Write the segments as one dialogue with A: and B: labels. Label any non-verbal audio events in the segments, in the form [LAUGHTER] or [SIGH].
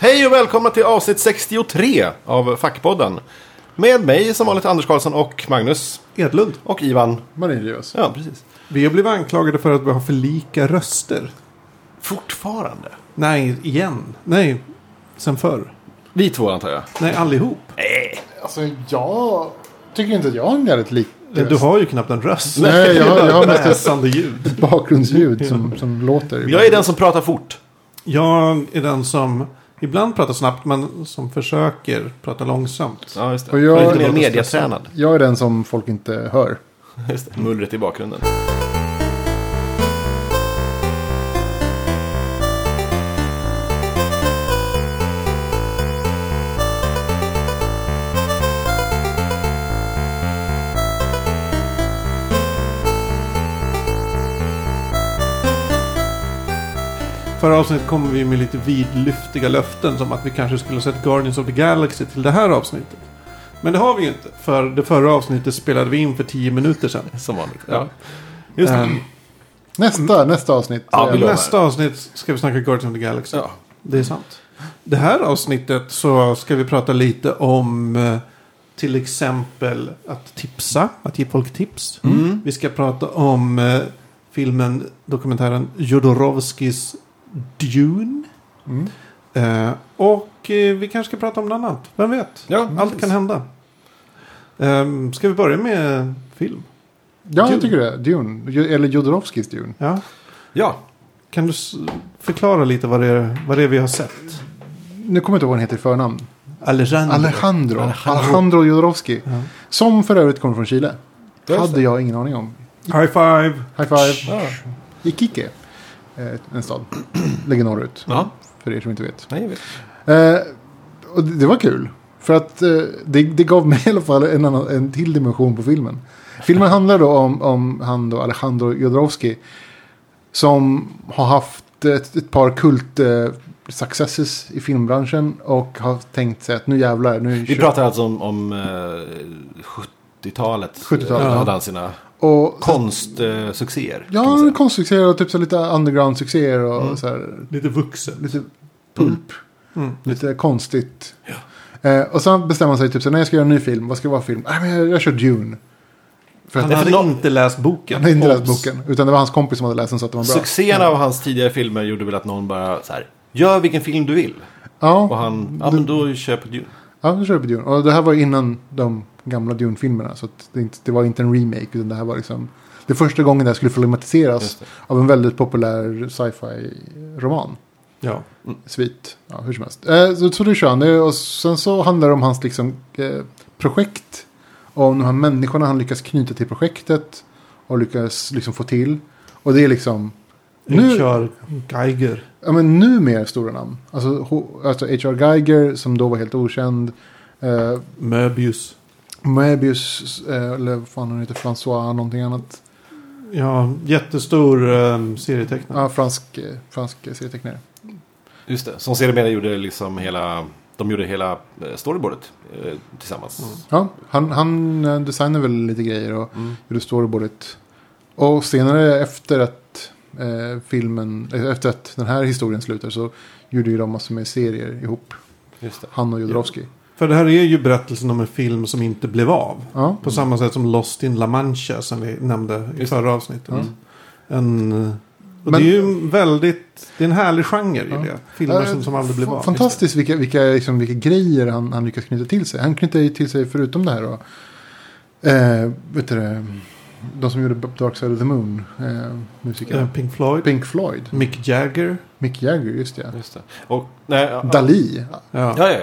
A: Hej och välkomna till avsnitt 63 av Fackpodden. Med mig som vanligt Anders Karlsson och Magnus.
B: Edlund,
A: Och Ivan.
B: Marinius.
A: Ja, precis.
B: Vi har blivit anklagade för att vi har för lika röster.
A: Fortfarande.
B: Nej, igen. Nej, sen förr.
A: Vi två antar jag.
B: Nej, allihop.
C: Alltså jag tycker inte att jag har en väldigt lik
B: Du har ju knappt en röst.
C: Nej, jag har- jag har
B: Det är bara
C: mest ett-
B: väsande ljud.
C: bakgrundsljud som, som låter.
A: Jag är den som pratar fort.
B: Jag är den som ibland pratar snabbt men som försöker prata långsamt.
A: Ja, just det.
C: Och jag-
A: Och lite mer mediatränad.
C: Jag är den som folk inte hör.
A: [LAUGHS] Just det. Mullret i bakgrunden.
B: Förra avsnittet kom vi med lite vidlyftiga löften som att vi kanske skulle ha sett Guardians of the Galaxy till det här avsnittet. Men det har vi ju inte, för det förra avsnittet spelade vi in för tio minuter sedan.
A: Som vanligt.
B: Ja.
A: Just det.
B: Ehm,
C: Nästa,
A: Mm.
C: nästa avsnitt.
A: Ja,
C: eh,
A: vi lovar.
B: Nästa avsnitt ska vi snacka Guardians of the Galaxy.
A: Ja.
B: Det är sant. Det här avsnittet så ska vi prata lite om eh, till exempel att tipsa, att ge folk tips.
A: Mm.
B: Vi ska prata om eh, filmen, dokumentären Jodorowskis Dune.
C: Mm.
B: Eh, och eh, vi kanske ska prata om något annat, vem vet?
A: Ja,
B: Allt kan hända. Um, ska vi börja med film?
C: ja,
B: Dune.
C: jag tycker det. Dune. Ju- Eller Jodorowskis Dune.
B: Ja.
A: Ja.
B: Kan du s- förklara lite vad det är, vad det är vi har sett?
C: Nu kommer jag inte ihåg vad han heter i förnamn.
B: Alejandro.
C: Alejandro.
A: Mm. Alejandro.
C: Alejandro, Jodorowski.
B: Ja.
C: Som för övrigt kommer från Chile.
A: Ja, just
C: Hade jag ingen aning om.
B: High five!
C: High five. Iquique. Eh, En stad. Ligger norrut.
A: Ja.
C: För er som inte vet.
A: Nej, jag vet.
C: Eh, och det, det var kul. För att eh, det, det gav mig [LAUGHS] i alla fall en, annan, en till dimension på filmen. Filmen handlar då om, om han då Alejandro Jodorowsky. Som har haft ett, ett par kult eh, successes i filmbranschen. Och har tänkt sig att nu jävlar. Nu
A: Vi
C: kör-
A: pratar alltså om, om eh, 70-talet.
C: 70-talet,
A: Eh,
B: ja.
A: Hade han sina
C: och,
A: konstsuccéer. kan man
C: ja,
A: säga.
C: konstsuccéer och typ så lite underground-succéer. Och
A: Mm.
C: så här,
B: Lite vuxen.
C: lite pulp.
B: Mm.
C: Lite konstigt. Eh, och sen bestämmer man sig typ så här, när jag ska göra en ny film. Vad ska det vara för film? Äh, men jag, jag kör Dune. För
B: Han
C: att,
A: Nej,
B: hade
A: för någon-
B: inte läst boken.
C: Han hade inte läst
B: Obs.
C: boken. Utan det var hans kompis som hade läst den så att den var bra.
A: Succéerna av hans tidigare filmer gjorde väl att någon bara så här. Gör vilken film du vill. Och
C: Ja,
A: han, ja men då köper du.
C: ja, nu kör vi på Dune. Och det här var ju innan de gamla Dune-filmerna. Så att det, inte, det var inte en remake. Utan det här var liksom. Det första gången det här skulle filmatiseras. Av en väldigt populär sci-fi roman.
B: Ja.
C: Svit. Ja, hur som helst. Eh, så, så det kör han. Det, och sen så handlar det om hans liksom, eh, projekt. Och om de här människorna han lyckas knyta till projektet. Och lyckas liksom få till. Och det är liksom.
B: Nu
C: Nu-
B: kör Geiger.
C: Ja, men numera stora namn. Alltså H.R. Alltså H.R. Geiger som då var helt okänd. Eh,
B: Möbius.
C: Moebius, eh, eller vad fan han heter, François någonting annat.
B: Ja, jättestor um, serietecknare.
C: Ja, fransk, eh, fransk eh, serietecknare.
A: Just det. Som sedermera gjorde liksom hela, de gjorde hela eh, storyboardet eh, tillsammans.
C: Ja, han, han eh, designade väl lite grejer och
A: Mm.
C: gjorde storyboardet. Och senare efter att eh, filmen, eh, efter att den här historien slutar så gjorde ju de massor med serier ihop.
A: Just det.
C: Han och Jodorowsky.
B: För det här är ju berättelsen om en film som inte blev av.
C: Ja,
B: På samma sätt som Lost in La Mancha som vi nämnde i
A: Just
B: förra avsnittet.
C: Mm.
B: En, och
C: Men-
B: det är ju en väldigt, det är en härlig genre i
C: Ja.
B: det. Filmer som,
C: Eh,
B: som aldrig blev
C: fa-
B: av.
C: Fantastiskt vilka, vilka, liksom, vilka grejer han, han lyckas knyta till sig. Han knyter ju till sig förutom det här då. Eh, vet du det, de som gjorde B- Dark Side of the Moon. Eh, musiker.
B: Eh, Pink Floyd.
C: Pink Floyd.
B: Mick Jagger.
C: Mick Jagger, just det.
A: Just det. Och, nej, ja, ja,
C: Dali.
B: Ja.
A: ja, ja.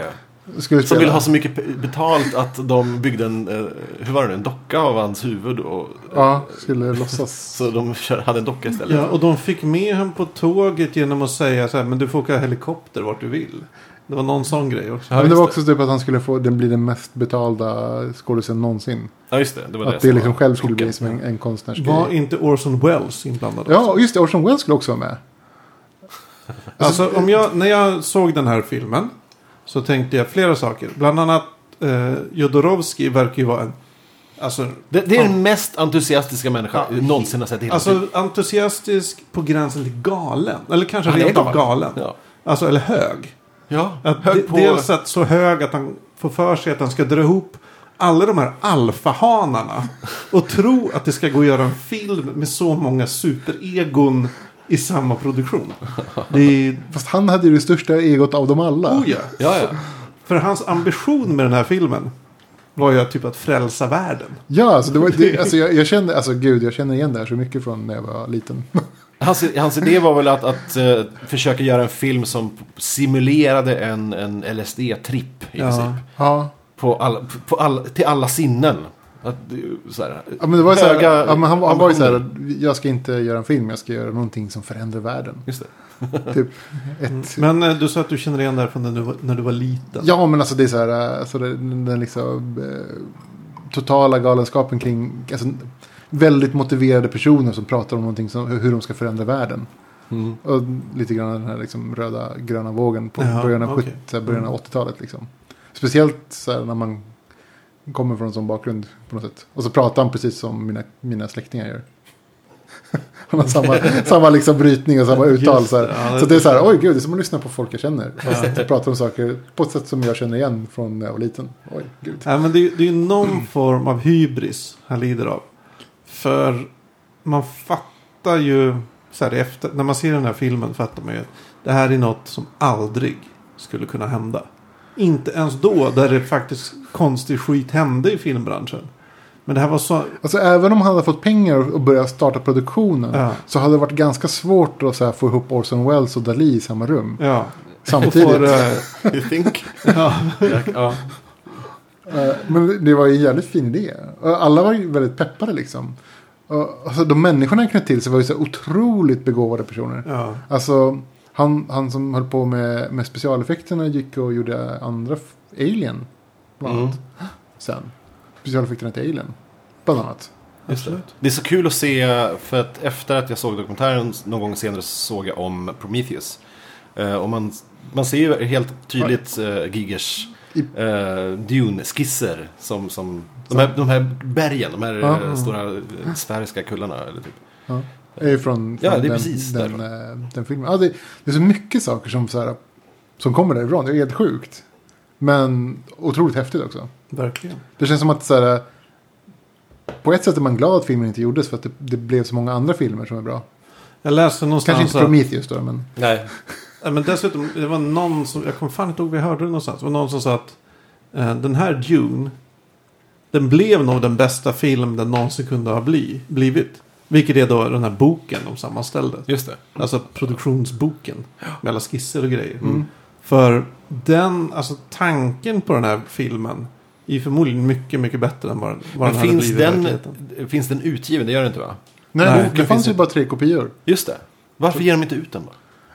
C: Skulle
A: Som
C: spela.
A: vill ha så mycket pe- betalt att de byggde en, eh, hur var det nu, en docka av hans huvud. Och,
C: Ja, skulle låtsas.
A: Så de kör, hade en docka istället.
B: Ja, och de fick med honom på tåget genom att säga så här, men du får åka helikopter vart du vill. Det var någon sån grej också.
A: Ja,
C: Men det var
A: just
C: också typ att han skulle få den bli den mest betalda skådisen någonsin.
A: Ja, just det. Det var det
C: Att
A: som
C: det
A: var
C: liksom själv skulle bli
A: chocken.
C: som en, en konstnärsgrej.
B: Var inte Orson Welles inblandad också?
C: Ja, och just det. Orson Welles skulle också vara med.
B: Alltså, om jag, när jag såg den här filmen så tänkte jag flera saker. Bland annat eh, Jodorowsky verkar ju vara en... Alltså,
A: Det, det är den mest entusiastiska människa jag någonsin har sett i hela mitt
B: alltså entusiastisk på gränsen till galen. Eller kanske
A: Han är
B: rent av
A: galen.
B: galen.
A: liv. Ja.
B: Alltså, eller hög.
A: Ja,
B: Att
A: höll
B: de,
A: på.
B: Dels att så hög att han får för sig att han ska dra ihop alla de här alfahanarna. Och tro att det ska gå att göra en film med så många superegon i samma produktion. Det är...
C: Fast han hade ju det största egot av dem alla.
B: Oh ja.
A: Ja, ja.
B: För hans ambition med den här filmen var ju att typ att frälsa världen.
C: Ja, alltså, det var, det, alltså jag, jag kände, alltså gud, jag känner igen det här så mycket från när jag var liten.
A: Hans, hans idé var väl att, att eh, försöka göra en film som simulerade en, en LSD-tripp i
B: Ja.
A: princip.
C: Ja,
A: På alla, på alla, till alla sinnen. Att, eh, så här,
C: ja men det var ju så här,
A: höga
C: ja, men han, han var ju så här,
A: ambitioner.
C: jag ska inte göra en film, jag ska göra någonting som förändrar världen.
A: Just det.
C: Typ ett...
B: Men eh, du sa att du känner igen det här från när du var, när du var liten.
C: Ja, men alltså det är så här, alltså den, den liksom eh, totala galenskapen kring, alltså väldigt motiverade personer som pratar om någonting som, hur de ska förändra världen.
A: Mm.
C: Och lite grann den här liksom röda gröna vågen på
B: Jaha,
C: början av,
B: okej. Mm.
C: 70 så här, början av 80-talet. Liksom. Speciellt så här, när man kommer från en sån bakgrund på något sätt. Och så pratar han precis som mina, mina släktingar gör. [LAUGHS] Han har samma,
B: [LAUGHS]
C: samma liksom brytning och samma uttal.
B: Just
C: Så,
B: det,
C: här.
B: ja,
C: så
B: det-
C: det är så här, oj gud, det är som att lyssna på folk jag känner. Fast de pratar om saker på ett sätt som jag känner igen från när jag var liten. Oj, gud.
B: Nej, men det, är- det är ju någon form av hybris han lider av. För man fattar ju, så här, i efter, när man ser den här filmen fattar man ju att det här är något som aldrig skulle kunna hända. Inte ens då, där det faktiskt konstig skit hände i filmbranschen. Men det här var så...
C: Alltså även om han hade fått pengar och börjat starta produktionen.
B: Ja,
C: Så hade det varit ganska svårt att så här, få ihop Orson Welles och Dalí i
B: [LAUGHS]
C: samma rum.
B: ja.
C: Samtidigt.
B: Och för, eh,
A: You think?
B: [LAUGHS] ja.
A: [LAUGHS] ja.
C: Eh, Men det var ju en jävligt fin idé. Och alla var ju väldigt peppade liksom. Och, Alltså, de människorna han knöt till sig var ju så otroligt begåvade personer.
B: ja.
C: Alltså han, han som höll på med, med specialeffekterna gick och gjorde andra f- Alien. Bland
A: Mm.
C: annat. Sen. Specialeffekterna till Alien. Bland annat.
B: Just det.
A: Det är så kul att se, för att efter att jag såg dokumentären någon gång senare så såg jag om Prometheus. Eh, och man, man ser ju helt tydligt eh, Gigers
C: I-
A: eh, Dune-skisser. Som, som, de, här, de här bergen, de här eh,
C: Ja.
A: stora eh, sfäriska kullarna. Eller typ.
C: Är ju från,
A: Ja,
C: från
A: det är
C: den,
A: precis
C: den, eh, den filmen. Ja, det, det är så mycket saker som, så här, som kommer därifrån. Det är helt sjukt. Men otroligt häftigt också.
B: Verkligen.
C: Det känns som att så här, på ett sätt är man glad att filmen inte gjordes för att det, det blev så många andra filmer som är bra.
B: Jag läste någonstans
C: Kanske inte
B: att-
C: Prometheus då, men
A: Nej.
B: Ja, men dessutom, det var någon som, jag kommer fan inte ihåg, vi hörde det någonstans. Det var någon som sa att eh, den här Dune, den blev nog den bästa film den någonsin kunde ha bli, blivit. Vilket är då den här boken de sammanställde.
A: Just det.
B: Alltså produktionsboken. Med alla skisser och grejer.
A: Mm.
B: För den, alltså tanken på den här filmen är förmodligen mycket, mycket bättre än vad, den-
A: Men
B: vad den hade
A: finns
B: blivit i
A: den,
B: verkligheten.
A: finns den utgiven? Det gör den inte va?
C: nej,
B: Nej,
C: det,
A: det
C: fanns
A: finns
C: ju
A: inte.
C: bara tre kopior.
A: Just det. Varför ger de inte ut den då?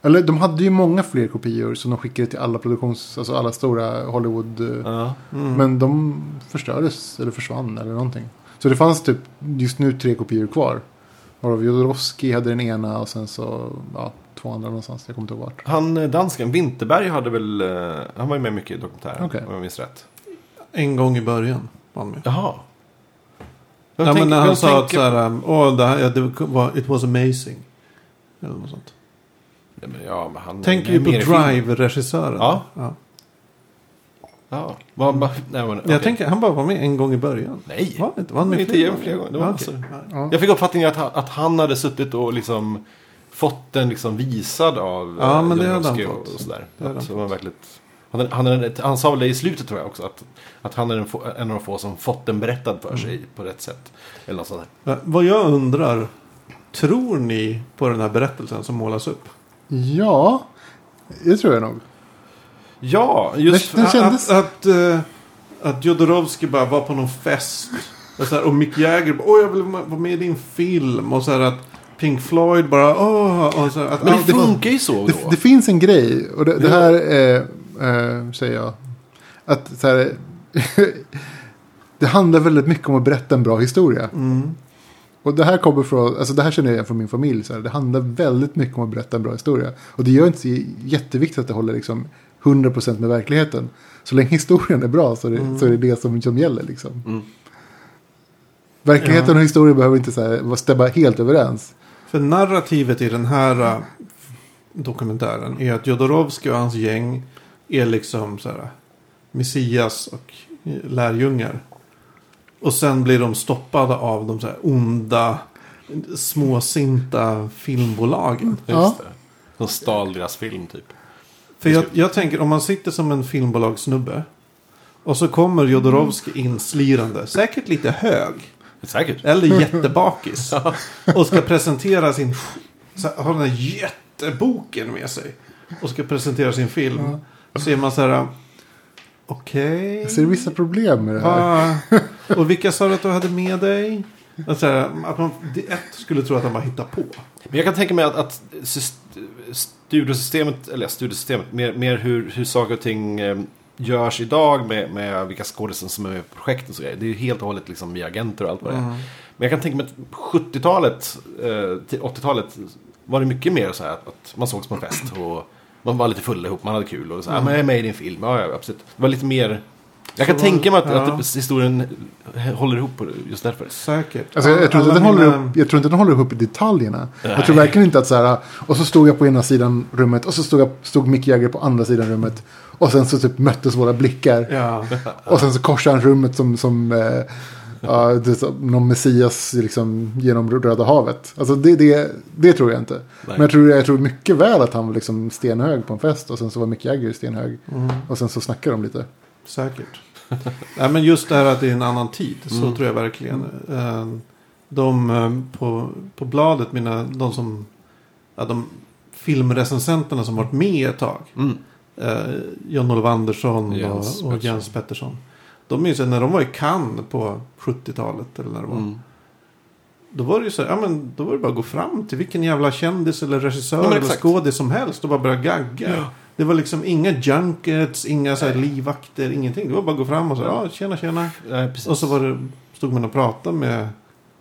C: Eller de hade ju många fler kopior som de skickade till alla produktions, alltså alla stora Hollywood. eh,
A: Ja.
B: Mm.
C: Men de förstördes eller försvann eller någonting. Så det fanns typ just nu tre kopior kvar. Varav Jodorowsky hade den ena och sen så ja, två andra någonstans. Jag kommer inte ihåg vart.
A: Han eh, dansken, Winterberg, hade väl... eh, Han var ju med mycket i dokumentären,
C: Okej.
A: om jag minns rätt.
B: En gång i början var han med.
A: Jaha. Vem
B: Ja, men
A: tänk-
B: när han
A: vem
B: sa att
A: tänker-
B: så här, um, åh, det här, ja, det var, it was amazing. Eller något sånt.
A: Nej, men ja, men han
B: Tänker
A: han Mm, är
B: ju på
A: mer i film.
B: Drive-regissören.
A: Ja. Ja. Vad- vad- nej, men, okej.
B: Jag tänker, han bara var med en gång i början.
A: Nej.
B: Var han inte? Var han med
A: Inte igen flera gånger. Det var
B: Ja,
A: alltså-
B: okej.
C: Ja.
A: Jag fick uppfattningen att, han- att han hade suttit och liksom fått den liksom visad av
B: Ja,
A: eh,
B: men det hade han
A: Jodorowsky
B: fått.
A: Och sådär.
B: Det hade
A: Att
B: han
A: man verkligen, han, är- han, är, han sa väl det i slutet tror jag också. Att, att han är en, få- en av de få som fått den berättad för
B: Mm.
A: sig på rätt sätt. Eller något sånt där.
B: Ja, Vad jag undrar, tror ni på den här berättelsen som målas upp?
C: Ja, det tror jag nog.
A: Ja, just
C: Den kändes-
B: Att, att, eh, att Jodorowsky bara var på någon fest. Och, så här, och Mick Jagger bara, åh jag vill vara med i din film. Och så här att Pink Floyd bara, åh. Och så här, att
A: Men
B: allt-
A: det funkar ju så då.
C: Det, det finns en grej, och det, det här eh, eh, säger jag. Att så här, [LAUGHS] det handlar väldigt mycket om att berätta en bra historia.
B: Mm.
C: Och det här kommer från, alltså det här känner jag igen från min familj. Så här, det handlar väldigt mycket om att berätta en bra historia. Och det gör inte så jätteviktigt att det håller liksom 100% med verkligheten. Så länge historien är bra så är det, så är det, det som, som gäller liksom.
A: Mm.
C: Verkligheten
B: Ja.
C: och historien behöver inte så här, vara- stämma helt överens.
B: För narrativet i den här äh, dokumentären är att Jodorowsky och hans gäng är liksom så här, Messias och äh, lärjungar. Och sen blir de stoppade av de så här onda, småsinta filmbolagen.
C: Ja.
A: Just det. De stal deras film typ.
B: För jag, jag tänker om man sitter som en filmbolagssnubbe. Och så kommer Jodorowsky inslirande, säkert lite hög.
A: Säkert.
B: Eller jättebakis. Och ska presentera sin... Så här, har den här jätteboken med sig. Och ska presentera sin film. Så är man så här... Okej.
C: Jag ser vissa problem med det här.
B: va? Och vilka sa du att du hade med dig? Och Så här, att man det ett skulle tro att han bara hittar på.
A: Men jag kan tänka mig att, att syst- studiosystemet, eller studiosystemet, mer, mer hur, hur saker och ting eh, görs idag med, med vilka skådespelare som är med i projekten och så grejer. Det är ju helt och hållet liksom via agenter och allt
B: Mm.
A: vad det är. Men jag kan tänka mig att 70-talet eh, till 80-talet var det mycket mer så här att, att man sågs på en fest och man var lite full ihop, man hade kul och så här, "Ah, men jag är med i din film, ja, ja absolut. Det var lite mer... Jag kan
B: Så-
A: tänka mig att,
B: ja.
A: att historien håller ihop på det just därför.
B: Säkert.
C: Alltså, jag, tror inte
B: Alla
C: den håller
B: mina-
C: upp, jag tror inte den håller upp i detaljerna. Jag tror verkligen inte att så här, och så stod jag på ena sidan rummet och så stod, jag, stod Mick Jagger på andra sidan rummet. Och sen så typ möttes våra blickar.
B: Ja.
C: Och sen så korsade han rummet som, som eh, ja, det, är som någon messias liksom, genom Röda havet. Alltså det, det, det tror jag inte. Men jag tror, jag tror mycket väl att han var liksom stenhög på en fest och sen så var Mick Jagger stenhög.
B: Mm.
C: Och sen så snackade de lite.
B: Säkert. [LAUGHS] Nej, men just det här att det är en annan tid. Så tror jag verkligen. Eh, De eh, på, på bladet, mina, de som... Ja, de filmrecensenterna som varit med ett tag.
A: Mm.
B: Eh, John-Olof Andersson
A: Jens
B: och, och Jens Pettersson. De minns jag när de var i Cannes på 70-talet eller när det var.
A: Mm.
B: Då var det ju så här, ja men då var det bara att gå fram till vilken jävla kändis eller regissör
A: Ja, men
B: eller
A: exakt.
B: skådis som helst och bara börja gagga. Det var liksom inga junkets, inga så här livvakter, ingenting. Det var bara att gå fram och så här, ja tjena tjena.
A: Nej, precis.
B: Och så var det, stod man och pratade med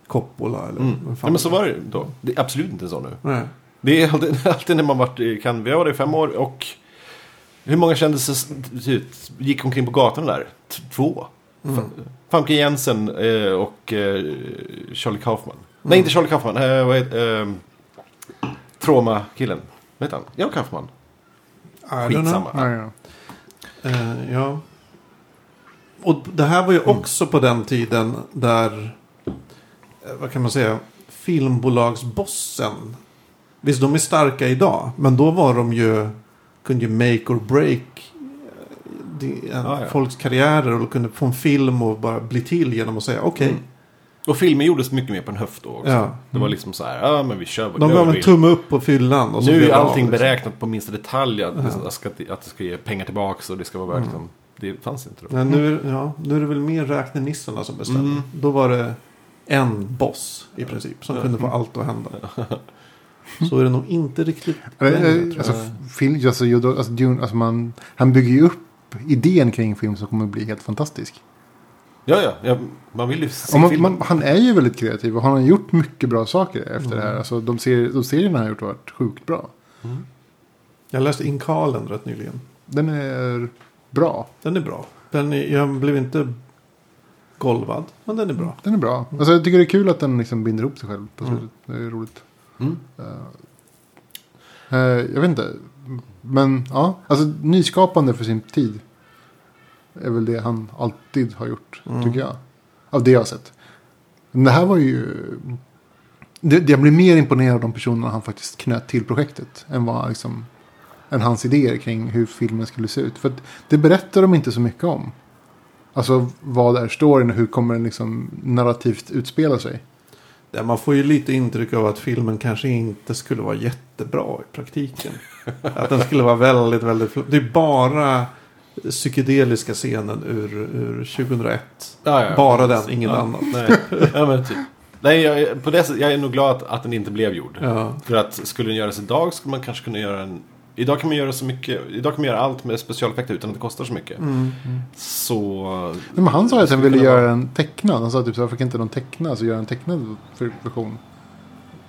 B: Coppola eller
A: Mm.
B: vem
A: Nej, men så var det då. Det är absolut inte så nu.
B: Nej.
A: Det är alltid, [LAUGHS] alltid när man varit i Cannes. Vi har varit i fem år och hur många kändisar typ, gick omkring på gatan där? T- Två. Mm. Famke Jensen eh, och eh, Charlie Kaufman. Nej, inte Charlie Kaufman. Eh, vad heter, eh, Troma-killen. Vad heter han? Ja, Kaufman.
B: I don't know.
A: Skitsamma.
C: Ja, ja.
B: Eh, ja. Och det här var ju
A: Mm.
B: också på den tiden där, eh, vad kan man säga, filmbolagsbossen. Visst, de är starka idag, men då var de ju, kunde ju make or break eh, det- eh,
A: Ah, Ja, ja.
B: folks karriärer och kunde få en film och bara bli till genom att säga okej.
A: Mm. Och filmen gjordes mycket mer på en höft då också.
B: Ja.
A: Det var liksom så här, ja men vi kör vad
B: De
A: gör
B: gav
A: vi
B: en tumme upp på fyllan. Och så
A: Nu
B: blev
A: är
B: det av,
A: allting
B: liksom.
A: beräknat på minsta detalj. Att, det ska, att det ska ge pengar tillbaka och det ska vara värt liksom. Det fanns inte då.
B: Mm. Nej, nu, är- ja, nu är det väl mer räknenissarna som bestämmer. Då var det en boss i princip som kunde få allt att hända. Så är det nog inte riktigt
C: Eller,
B: längre,
C: eh,
B: tror jag.
C: Alltså, film, alltså, Jodor- alltså, Dune, alltså man, han bygger ju upp idén kring en film som kommer att bli helt fantastisk.
A: Ja, ja, ja. Man vill ju se
B: Alltså,
C: Och man,
A: filmen.
C: man, han är ju väldigt kreativ och han har gjort mycket bra saker efter
B: Mm.
C: det här. Alltså, de, ser, de serierna han har gjort har varit sjukt bra.
B: Jag läste Inkalen rätt nyligen.
C: Den är bra.
B: Den är bra. Den är, jag blev inte golvad, men den är bra.
C: Den är bra. Alltså, jag tycker det är kul att den liksom binder ihop sig själv på slutet. Det är roligt.
A: Mm.
C: Eh, jag vet inte. Men ja, alltså nyskapande för sin tid. Är väl det han alltid har gjort, tycker jag. Av det jag har sett. Men det här var ju... Det, det- jag blir mer imponerad av de personerna han faktiskt knöt till projektet. Än, vad, liksom, än hans idéer kring hur filmen skulle se ut. För att det berättar de inte så mycket om. Alltså vad är storyn och hur kommer den liksom narrativt utspela sig.
B: Ja, man får ju lite intryck av att filmen kanske inte skulle vara jättebra i [LAUGHS] praktiken. Att den skulle vara väldigt, väldigt... fl- Det är bara psykedeliska scenen ur, ur 2001.
A: Ja, ja.
B: Bara den, ingen
A: ja,
B: annan.
A: Nej, ja, men typ. nej jag, på det sättet, jag är nog glad att, att den inte blev gjord.
B: Ja.
A: För att skulle den göras idag skulle man kanske kunna göra en... Idag kan man göra så mycket, idag kan man göra allt med specialeffekter utan att det kostar så
B: Mm.
A: mycket. Så...
C: Nej, men han sa ju att han ville
A: Skulle kunna
C: göra en tecknad. Han sa typ så här, varför kan inte någon teckna? Så göra en tecknad för- version.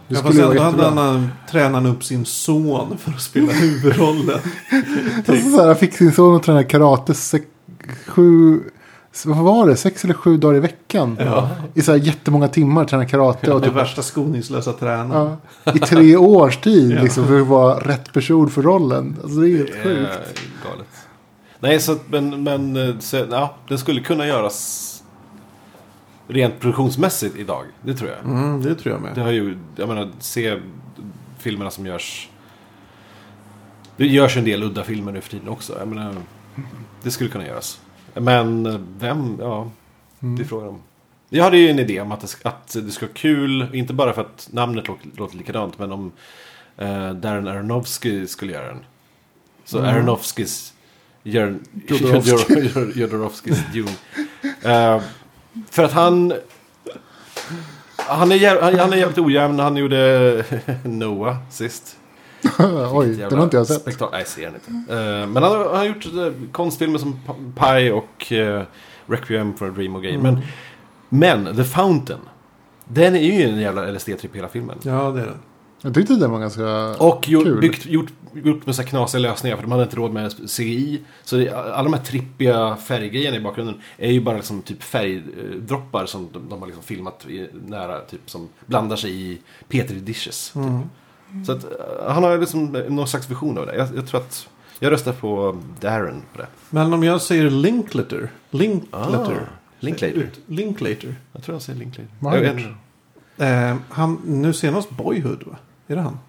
C: Det
B: Ja,
C: skulle
B: fast
C: ju vara
B: ändå hade
C: jättebra.
B: han, han, tränade upp sin son för att spela huvudrollen.
C: Alltså, [LAUGHS] så här, han fick sin son att träna karate sex, sju, vad var det, sex eller sju dagar i veckan.
B: Ja.
C: I så här jättemånga timmar träna karate. Och
B: Det
C: typ,
B: värsta skoningslösa tränaren.
C: ja, I tre års tid
B: Ja.
C: liksom, för att vara rätt person för rollen. Alltså, det är helt
A: eh,
C: sjukt. [LAUGHS]
A: galet. Nej, så, att- men, men eh, så, ja, den skulle kunna göras rent produktionsmässigt idag. Det tror jag.
B: Mm, det tror jag med.
A: Det har ju, jag menar, se filmerna som görs. Det görs ju en del udda filmer nu för tiden också. Jag menar, det skulle kunna göras. Men eh, vem, ja, det är frågan om. Jag hade ju en idé om att det, ska- att det ska vara kul, inte bara för att namnet lå- låter likadant, men om eh, Darren Aronofsky skulle göra den. Så Aronofskys gör, [LAUGHS]
C: Jodorowsky.
A: Jodor- Jodorowskys Dune. Eh, för att han... Han är, jäv, han, han är jävligt ojämn. Han gjorde [LAUGHS] Noah sist.
C: Oj, den har inte jag sett.
A: Spektak- Nej, ser den inte. Eh, men han har, han har gjort eh, konstfilmer som P- Pie och eh, Requiem for a Dream och grejer.
C: Mm.
A: Men, men The Fountain. Den är ju en jävla LSD-tripp hela filmen.
B: Ja, det är den.
C: Jag tyckte den var ganska...
A: Och gjort,
C: Kul.
A: byggt, gjort, gjort med så här knasiga lösningar för de hade inte råd med CGI. Så det, alla de här trippiga färggrejerna i bakgrunden är ju bara liksom typ färgdroppar som de, de har liksom filmat i, nära, typ som blandar sig i Petri dishes. Typ.
B: Mm.
A: Så att eh, han har liksom någon slags vision av det. Jag, jag tror att jag röstar på Darren på det.
B: Men om jag säger Linklater. Linklater.
A: Ah, Linklater.
B: Linklater.
A: Jag tror han säger Linklater.
C: Vad har han
A: Jag vet
C: gjort?
A: inte.
B: Eh, han, nu senast Boyhood va? Är det han?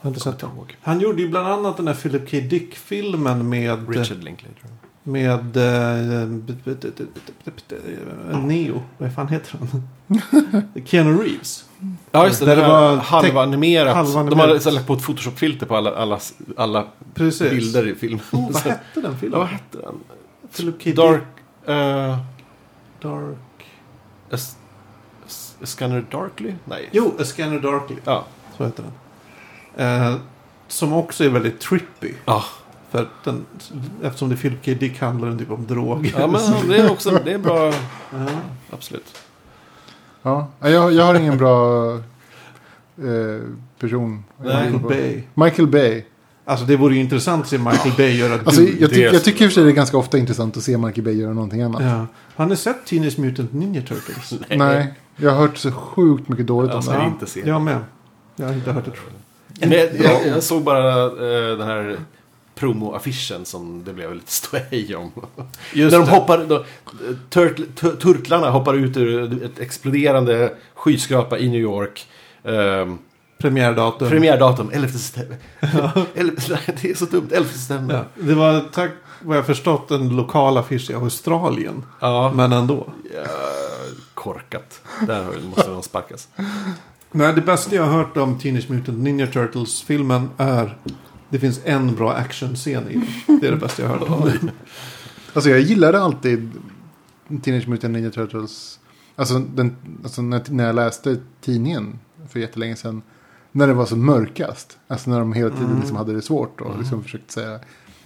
B: Jag har inte sett honom. Han gjorde ju bland annat den här Philip K. Dick-filmen med... eh,
A: Richard Linklater.
B: Med... eh, b- b- b- b- b- b- b- Neo. Vad fan
A: [LAUGHS]
B: heter han? Keanu Reeves.
A: Ja, just det.
B: Där
A: Det
B: det
A: var
B: var
A: halvanimerat.
B: halvanimerat.
A: De hade så här lagt på ett Photoshop-filter på alla, alla, alla
B: Precis.
A: bilder i filmen.
B: Oh, vad
A: Så-
B: hette den
A: Ja, vad
B: filmen?
A: hette den?
B: Philip K. Dick.
A: Dark... eh,
B: Dark.
A: S- S- Scanner Darkly? Nej.
B: Jo, A Scanner Darkly.
A: Ja.
B: Så heter den. Eh, som också är väldigt trippy.
A: Ja,
B: För att den, eftersom det är Philip K. Dick handlar den typ om droger.
A: ja men det är också det är bra.
B: Ja.
A: Absolut.
C: Ja. Ja, Jag, jag har ingen bra eh, person.
A: Nej.
B: Michael Bay.
C: Michael Bay.
B: Alltså det vore ju intressant att se Michael Bay göra
C: Alltså,
B: Dune.
C: jag, ty-
A: det är-
C: jag tycker i och för sig det är ganska ofta intressant att se Michael Bay göra någonting annat.
B: Ja. Har ni sett Teenage Mutant Ninja Turtles?
C: Nej, jag har hört så sjukt mycket dåligt
A: Jag
C: om
A: ska
C: det.
A: inte se.
B: Jag med. Jag har inte hört det.
A: Men jag, jag, jag såg bara eh, den här promoaffischen som det blev lite ståhej om.
B: Just
A: När de
B: det.
A: hoppar, då, turtl, tu- turtlarna hoppar ut ur ett exploderande skyskrapa i New York. Ehm,
B: Premiärdatum.
A: premiärdatum 11 september. Elf- nej, det är så dumt, 11 september.
B: [LAUGHS] Ja. Det var tack vad jag förstått en lokal affisch i Australien.
A: Ja.
B: Men ändå.
A: Ja, korkat. Där har- måste någon sparkas.
B: Nej, det bästa jag har hört om Teenage Mutant Ninja Turtles-filmen är det finns en bra actionscen i den. Det är det bästa jag har hört om den.
C: Alltså jag gillade alltid Teenage Mutant Ninja Turtles. Alltså, den, alltså när, när jag läste tidningen för jättelänge sedan. När det var som mörkast. Alltså när de hela tiden
B: Mm.
C: liksom hade det svårt och liksom försökte säga,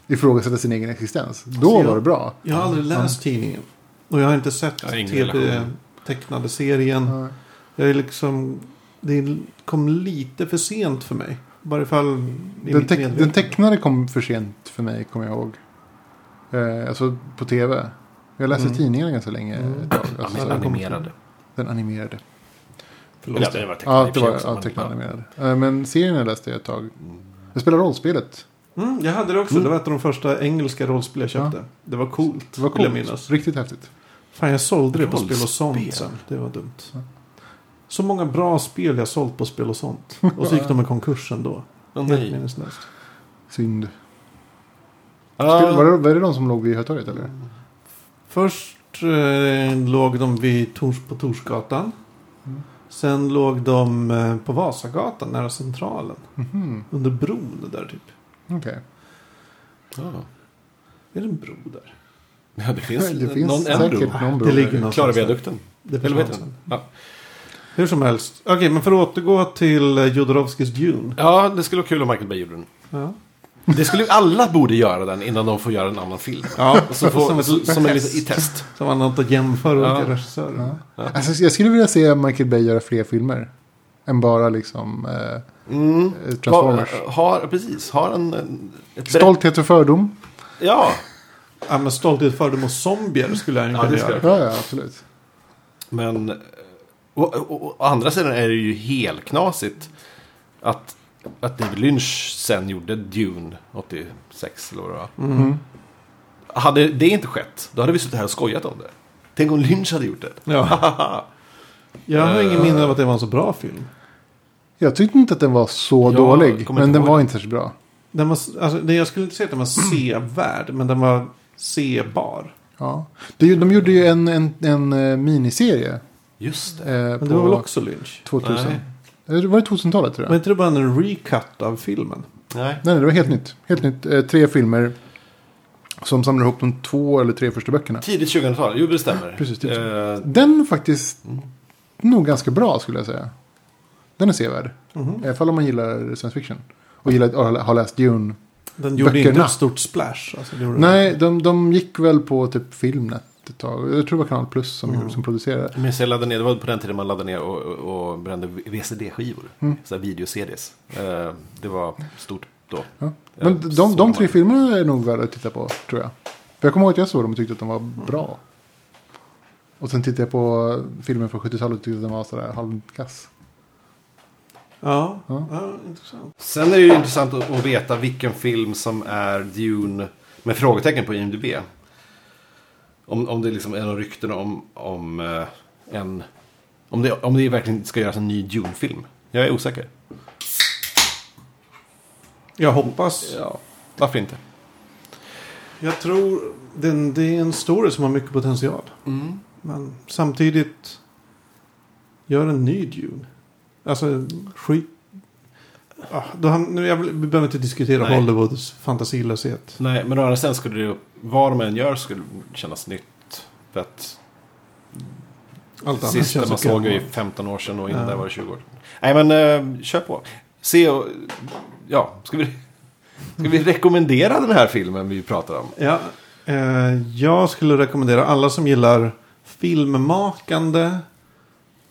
C: ifrågasätta sin egen existens. Då
B: Alltså, jag-
C: var det bra.
B: [LAUGHS] Jag har aldrig läst tidningen. Och jag har inte sett
A: Jag har ingen relation.
B: tv-tecknade serien.
C: Ja.
B: Jag är liksom... Det kom lite för sent för mig. I varje fall i
C: Den,
B: mitt
C: teck,
B: medvetande.
C: den tecknade kom för sent för mig, kommer jag ihåg. Eh, alltså på tv. Jag läste
B: Mm.
C: tidningarna ganska länge.
B: Mm.
C: Ett tag.
A: Ja,
C: Alltså,
A: men
C: så här,
A: animerade.
C: den animerade.
B: Förlåt.
A: Eller ja, det var tecknad
C: Ja,
A: i och
C: det
A: för sig
C: var
A: också,
C: ja,
A: men-
C: tecknade
A: ja.
C: animerade. Eh, Men serierna läste jag ett tag. Jag spelade rollspelet.
B: Mm, jag hade det också. Det var ett av de första engelska rollspel jag köpte. Det var coolt.
C: Det var
B: Vill jag
C: coolt.
B: minnas.
C: Riktigt häftigt.
B: Fan, jag sålde det på
A: Rollspel.
B: spel och sånt sen. Det var dumt. Så många bra spel jag sålt på spel och
C: [LAUGHS]
B: sånt. Och så gick de i konkurs ändå.
A: Åh,
B: Helt
A: nej.
B: minneslöst.
C: Synd.
B: Ah.
C: Spel, var,
A: Ja,
C: det, var det de som låg vid Hötorget eller?
B: Först eh, låg de vid Tors, på Torsgatan.
C: Mm.
B: Sen låg de eh, på Vasagatan nära Centralen.
C: Mhm,
B: Under bron där typ.
C: Okej.
A: ja.
B: Är det en bro där?
A: Ja, det finns,
C: Det finns
A: någon en bro.
C: säkert någon bro.
B: Det ligger
C: där.
B: någon-
A: Klaravia-dukten.
B: Det
A: Eller vad heter
B: försvann
A: den?
B: sen.
A: Ja.
B: Hur som helst. Okej, men för att återgå till eh, Jodorowskys Dune.
A: ja, det skulle vara kul om Michael Bay gjorde den.
B: Ja.
A: Det skulle ju alla borde göra den innan de får göra en annan film.
B: Ja,
A: Så får, som,
B: som, ett,
A: som en liten i test.
B: som man inte jämför
A: Ja.
B: olika regissörer.
C: Ja. Alltså, jag skulle vilja se Michael Bay göra fler filmer. Än bara liksom eh,
A: Mm.
C: Transformers.
A: Har, har, precis, har en... en ett
C: Stolthet och fördom.
A: Ja,
B: Ja, men Stolthet, fördom och zombier skulle han ju
A: Ja,
B: kunna
A: det ska
B: göra.
C: Ja, ja, absolut.
A: men... eh, Å, å, å, å andra sidan är det ju helknasigt att, att David Lynch sen gjorde Dune 86 eller vad det var.
C: Mm.
A: Hade det inte skett, då hade vi suttit här och skojat om det. Tänk om Lynch hade gjort det.
B: Ja. Jag har
A: Eh.
B: ingen minne av att det var en så bra film.
C: Jag tyckte inte att den var så
A: Jag
C: dålig.
A: kommer
C: Men
A: inte
C: den
A: ihåg
C: var
A: den.
C: inte särskilt bra.
B: Den var, s- alltså, det- jag skulle inte säga att den var sevärd, men den var sebar.
C: Ja. De, de gjorde ju en, en, en eh, miniserie.
A: Just det.
C: Eh,
B: Men det var väl
C: på
B: också Lynch?
C: 2000.
A: Nej.
C: Eller Var det 2000-talet tror jag?
B: Var inte det bara en recut av filmen?
A: Nej.
C: Nej, nej, det var helt nytt. Helt nytt. Eh, tre filmer som samlar ihop de två eller tre första böckerna.
A: Tidigt 2000-tal, jo det stämmer.
C: Precis, typ så.
A: Eh,
C: Den är faktiskt nog ganska bra skulle jag säga. Den är sevärd. I alla fall om man gillar science fiction. Och gillar att ha läst Dune.
B: Den gjorde
C: Böckerna.
B: inte ett stort splash. Alltså, det gjorde
C: Nej, de, de gick väl på typ Filmnet ett tag. Jag tror det var Kanal Plus som, gjorde- som producerade.
A: Jag minns jag laddade ner, det var på den tiden man laddade ner och, och, och brände VCD-skivor. Så här video-CDs. Eh, det var stort då.
C: Ja. Men
A: Ja,
C: de,
A: så
C: de, de
A: man-
C: tre filmerna är nog värda att titta på, tror jag. För jag kommer ihåg att jag såg dem och tyckte att de var bra. Och sen tittade jag på filmen från 70-talet och tyckte att den var sådär halvkass.
B: Ja,
C: Ja.
B: ja, intressant.
A: Sen är det ju intressant att, att veta vilken film som är Dune med frågetecken på IMDB. Om, om det liksom är någon rykten om, om eh, en... Om det, om det verkligen ska göras en ny Dune-film. Jag är osäker.
B: Jag hoppas.
A: Ja. Varför inte?
B: Jag tror den, det är en story som har mycket potential. Men samtidigt gör en ny Dune. Alltså skit. Ah, då ham- nu, jag, vill- vi behöver inte diskutera
A: Nej.
B: Hollywoods fantasilöshet.
A: Nej, men å andra sidan skulle det ju... Vad de än gör skulle det kännas nytt. För att
B: Allt annat
A: sista
B: känns
A: man
B: okej.
A: såg är ju 15 år sedan och innan
B: Ja.
A: där var det 20 år. Nej, men eh, kör på. Se och... Ja, ska vi... Ska vi rekommendera den här filmen vi pratar om?
B: Ja, eh, jag skulle rekommendera alla som gillar filmmakande,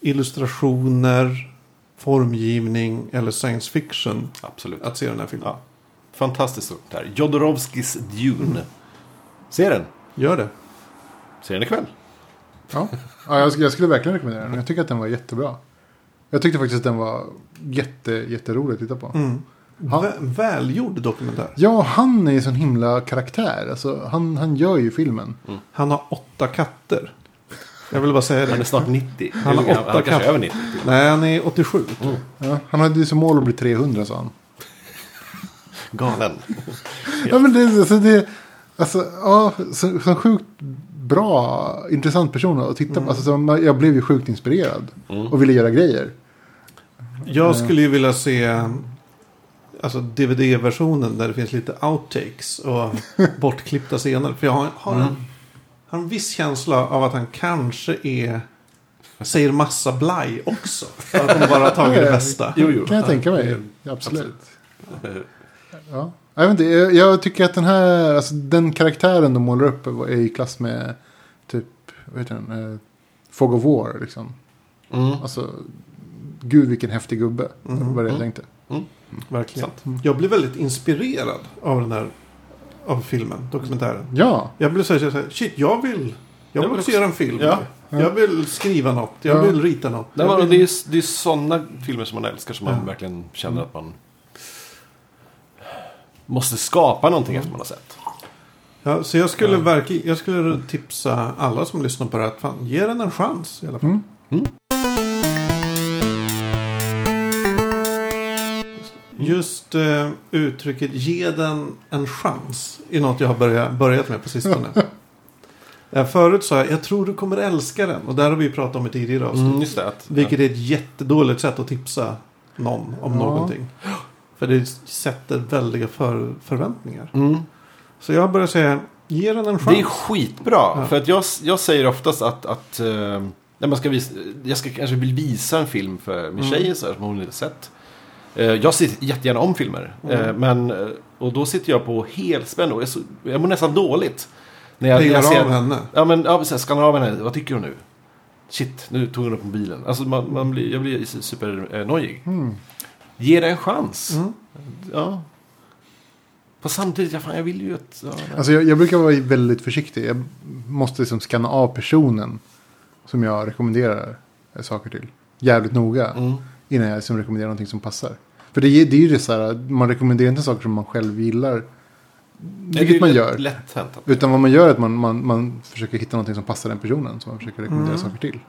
B: illustrationer, formgivning eller science fiction
A: Absolut.
B: att se den här filmen.
A: Ja. Fantastiskt stort här. Jodorowskis Dune. Se den.
B: Gör det.
A: Se den ikväll.
C: Ja, ja jag, sk- jag skulle verkligen rekommendera den. Jag tycker att den var jättebra. Jag tyckte faktiskt att den var jätte, jätterolig att titta på.
B: Mm.
C: Han-
B: Vä- välgjord dokumentär.
C: Ja, han är ju sån himla karaktär. Alltså, han, han gör ju filmen.
B: Han har åtta katter. Jag vill bara säga
A: Han är
B: det.
A: snart 90.
B: Han har
A: Eller,
B: åtta
A: han kanske
B: katter.
A: är över 90. till.
B: Nej, han är 87.
A: Mm.
C: Ja, han hade ju som mål att bli 300 sa han.
A: Galen.
C: Ja, men det, alltså, det, alltså, ja, så, så sjukt bra, intressant person att titta på. Alltså, så, man- jag blev ju sjukt inspirerad och ville göra grejer.
A: Eh.
B: Jag skulle ju vilja se alltså, DVD-versionen där det finns lite outtakes och
A: [LAUGHS]
B: bortklippta scener. För jag har, har,
A: Mm.
B: en, har en viss känsla av att han kanske är säger massa blaj också. För att han bara har
A: [LAUGHS]
B: tagit det bästa.
A: Jo, jo.
C: Kan jag tänka mig.
A: det-
C: Absolut. Ja. Jag, vet inte, jag, jag tycker att den här, alltså, den karaktären de målar upp är i klass med typ, vad heter den, eh, Fog of War liksom.
A: Mm.
C: Alltså, gud vilken häftig gubbe.
B: Mm.
C: Var det jag
A: Mm.
C: tänkte.
B: Verkligen.
C: Mm.
B: Jag blev väldigt inspirerad av den här av filmen, dokumentären.
C: Ja,
B: Jag blev så här, så här shit, jag vill, jag
A: Jag
B: vill
A: vill
B: också göra en film.
A: Ja.
B: Jag vill skriva något, jag
C: Ja.
B: vill rita något.
A: Det,
B: jag
A: var,
B: vill...
A: det, är, det är sådana filmer som man älskar som man
B: Ja.
A: verkligen känner att man måste skapa någonting efter man har sett.
B: Ja, så jag skulle, verkligen, jag skulle tipsa alla som lyssnar på det här att fan, ge den en chans i alla fall.
C: Mm.
A: Mm.
B: Just eh, uttrycket ge den en chans är något jag har börjat, börjat med
A: [LAUGHS]
B: på sistone. Eh, Förut sa jag, jag tror du kommer älska den. Och där har vi pratat om i tidigare avsnitt.
A: Mm, just det. Att,
B: Vilket är ett jättedåligt sätt att tipsa någon om
C: Ja.
B: någonting. För det sätter väldiga för, förväntningar.
A: Mm.
B: Så jag börjar säga, ge den en chans.
A: Det är skitbra.
B: Ja.
A: För att jag, jag säger oftast att, att eh, när man ska visa, jag ska kanske vill visa en film för
B: Mm.
A: min tjej så här, som hon inte sett. Eh, jag ser jättegärna om filmer.
B: Mm.
A: Eh, men, eh, och då sitter jag på helspänn och jag, är så, jag mår nästan dåligt. När jag, när jag
B: Pejlar av
A: ser,
B: henne.
A: ja, men, ja, precis, skannar av henne. Vad tycker hon nu? Shit, nu tog hon upp mobilen. Alltså, man, man blir, jag blir supernojig. Ge det en chans.
B: Mm.
A: Ja. Fast samtidigt, ja, fan, jag vill ju att... Ja,
C: Alltså jag, jag brukar vara väldigt försiktig. Jag måste liksom skanna av personen som jag rekommenderar eh, saker till. Jävligt noga.
A: mm.
C: Innan jag liksom rekommenderar någonting som passar. För det, är- det är ju det så här, man rekommenderar inte saker som man själv gillar.
A: det är
C: vilket
A: ju
C: man
A: lätt-
C: gör.
A: Lätt hänt. att-
C: Utan vad man gör är att man, man, man försöker hitta någonting som passar den personen som man försöker rekommendera
B: Mm.
C: saker till.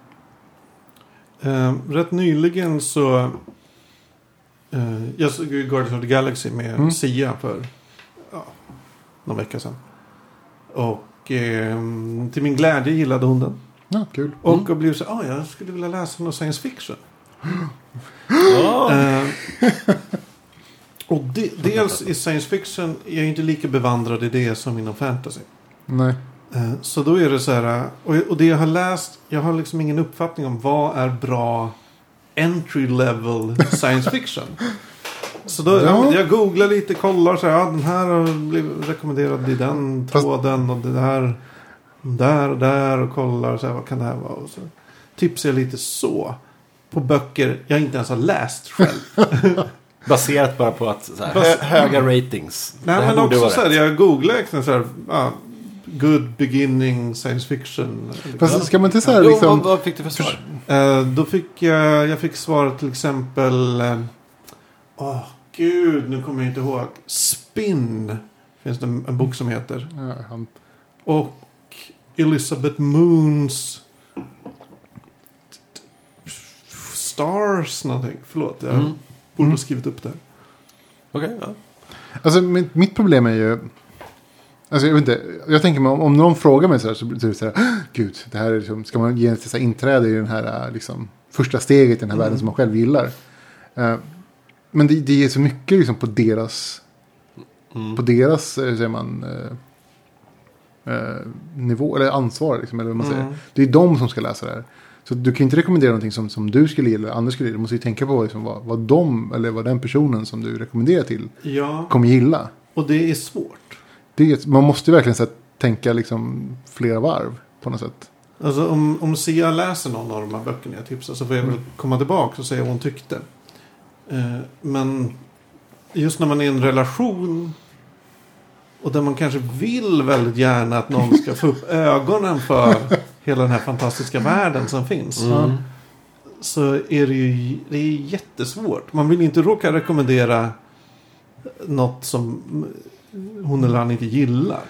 B: Eh, rätt nyligen så... Eh, jag såg ju Guardians of the Galaxy med
C: Mm.
B: Sia för ja, någon vecka sedan. Och eh, till min glädje gillade hon den.
C: Ja, kul.
B: Och
A: Mm.
B: jag blev så ah, jag skulle vilja läsa någon science fiction.
A: Ja. [LAUGHS]
B: Eh, och de, dels i science fiction, jag är inte lika bevandrad i det som inom fantasy.
C: Nej.
B: Eh, Så då är det så här, eh, och och det jag har läst, jag har liksom ingen uppfattning om vad är bra entry level
A: [LAUGHS]
B: science fiction. Så då,
C: Ja.
B: jag googlar lite, kollar så här, ja, den här har blivit rekommenderad i den
C: Fast-
B: tråden och det där, där och där och kollar så här, vad kan det här vara? Och så tipsar jag lite så på böcker jag inte ens har läst
A: [LAUGHS]
B: själv.
A: [GASPS] Baserat bara på att så här, hö,
B: Bas-
A: höga ratings. Det
B: Nej
A: här
B: men
A: borde
B: också
A: vara
B: så här,
A: rätt.
B: jag googlar liksom så här, ja, good beginning science fiction.
C: Fast ska man inte
A: Jo,
C: säga
A: vad,
C: liksom...
A: vad fick du för svar?
B: Eh, då fick jag, jag fick svar till exempel... eh, Åh, gud, nu kommer jag inte ihåg. Spin finns det en, en bok som heter.
C: Ja, han-
B: Och Elizabeth Moons... Stars någonting. Förlåt, jag
A: Mm.
B: borde ha
C: Mm.
B: skrivit upp det. här.
A: Okej, ja.
C: Alltså mitt, mitt problem är ju... Alltså jag vet inte, jag tänker mig om, om någon frågar mig så här så blir det typ så här, "Åh, gud, det här är liksom, ska man ge ett så här inträde i den här äh, liksom, första steget i den här
B: Mm.
C: världen som man själv gillar. Eh, men det, det ger så mycket liksom på deras,
A: Mm.
C: på deras, eh, hur säger man, eh, eh, nivå, eller ansvar liksom, eller vad man säger.
B: Mm.
C: Det är de som ska läsa det här. Så du kan ju inte rekommendera någonting som, som du skulle gilla, eller andra skulle gilla. Du måste ju tänka på liksom, vad, vad de, eller vad den personen som du rekommenderar till,
B: Ja,
C: kommer gilla.
B: och det är svårt.
C: Det är, man måste ju verkligen så här, tänka liksom flera varv på något sätt.
B: Alltså om, om Sia läser någon av de här böckerna jag tipsar så får jag väl komma tillbaka och säga vad hon tyckte. Eh, men just när man är i en relation och där man kanske vill väldigt gärna att någon ska få upp ögonen för hela den här fantastiska världen som finns.
A: Mm.
B: Så är det ju det är jättesvårt. Man vill inte råka rekommendera något som hon eller han inte gillar.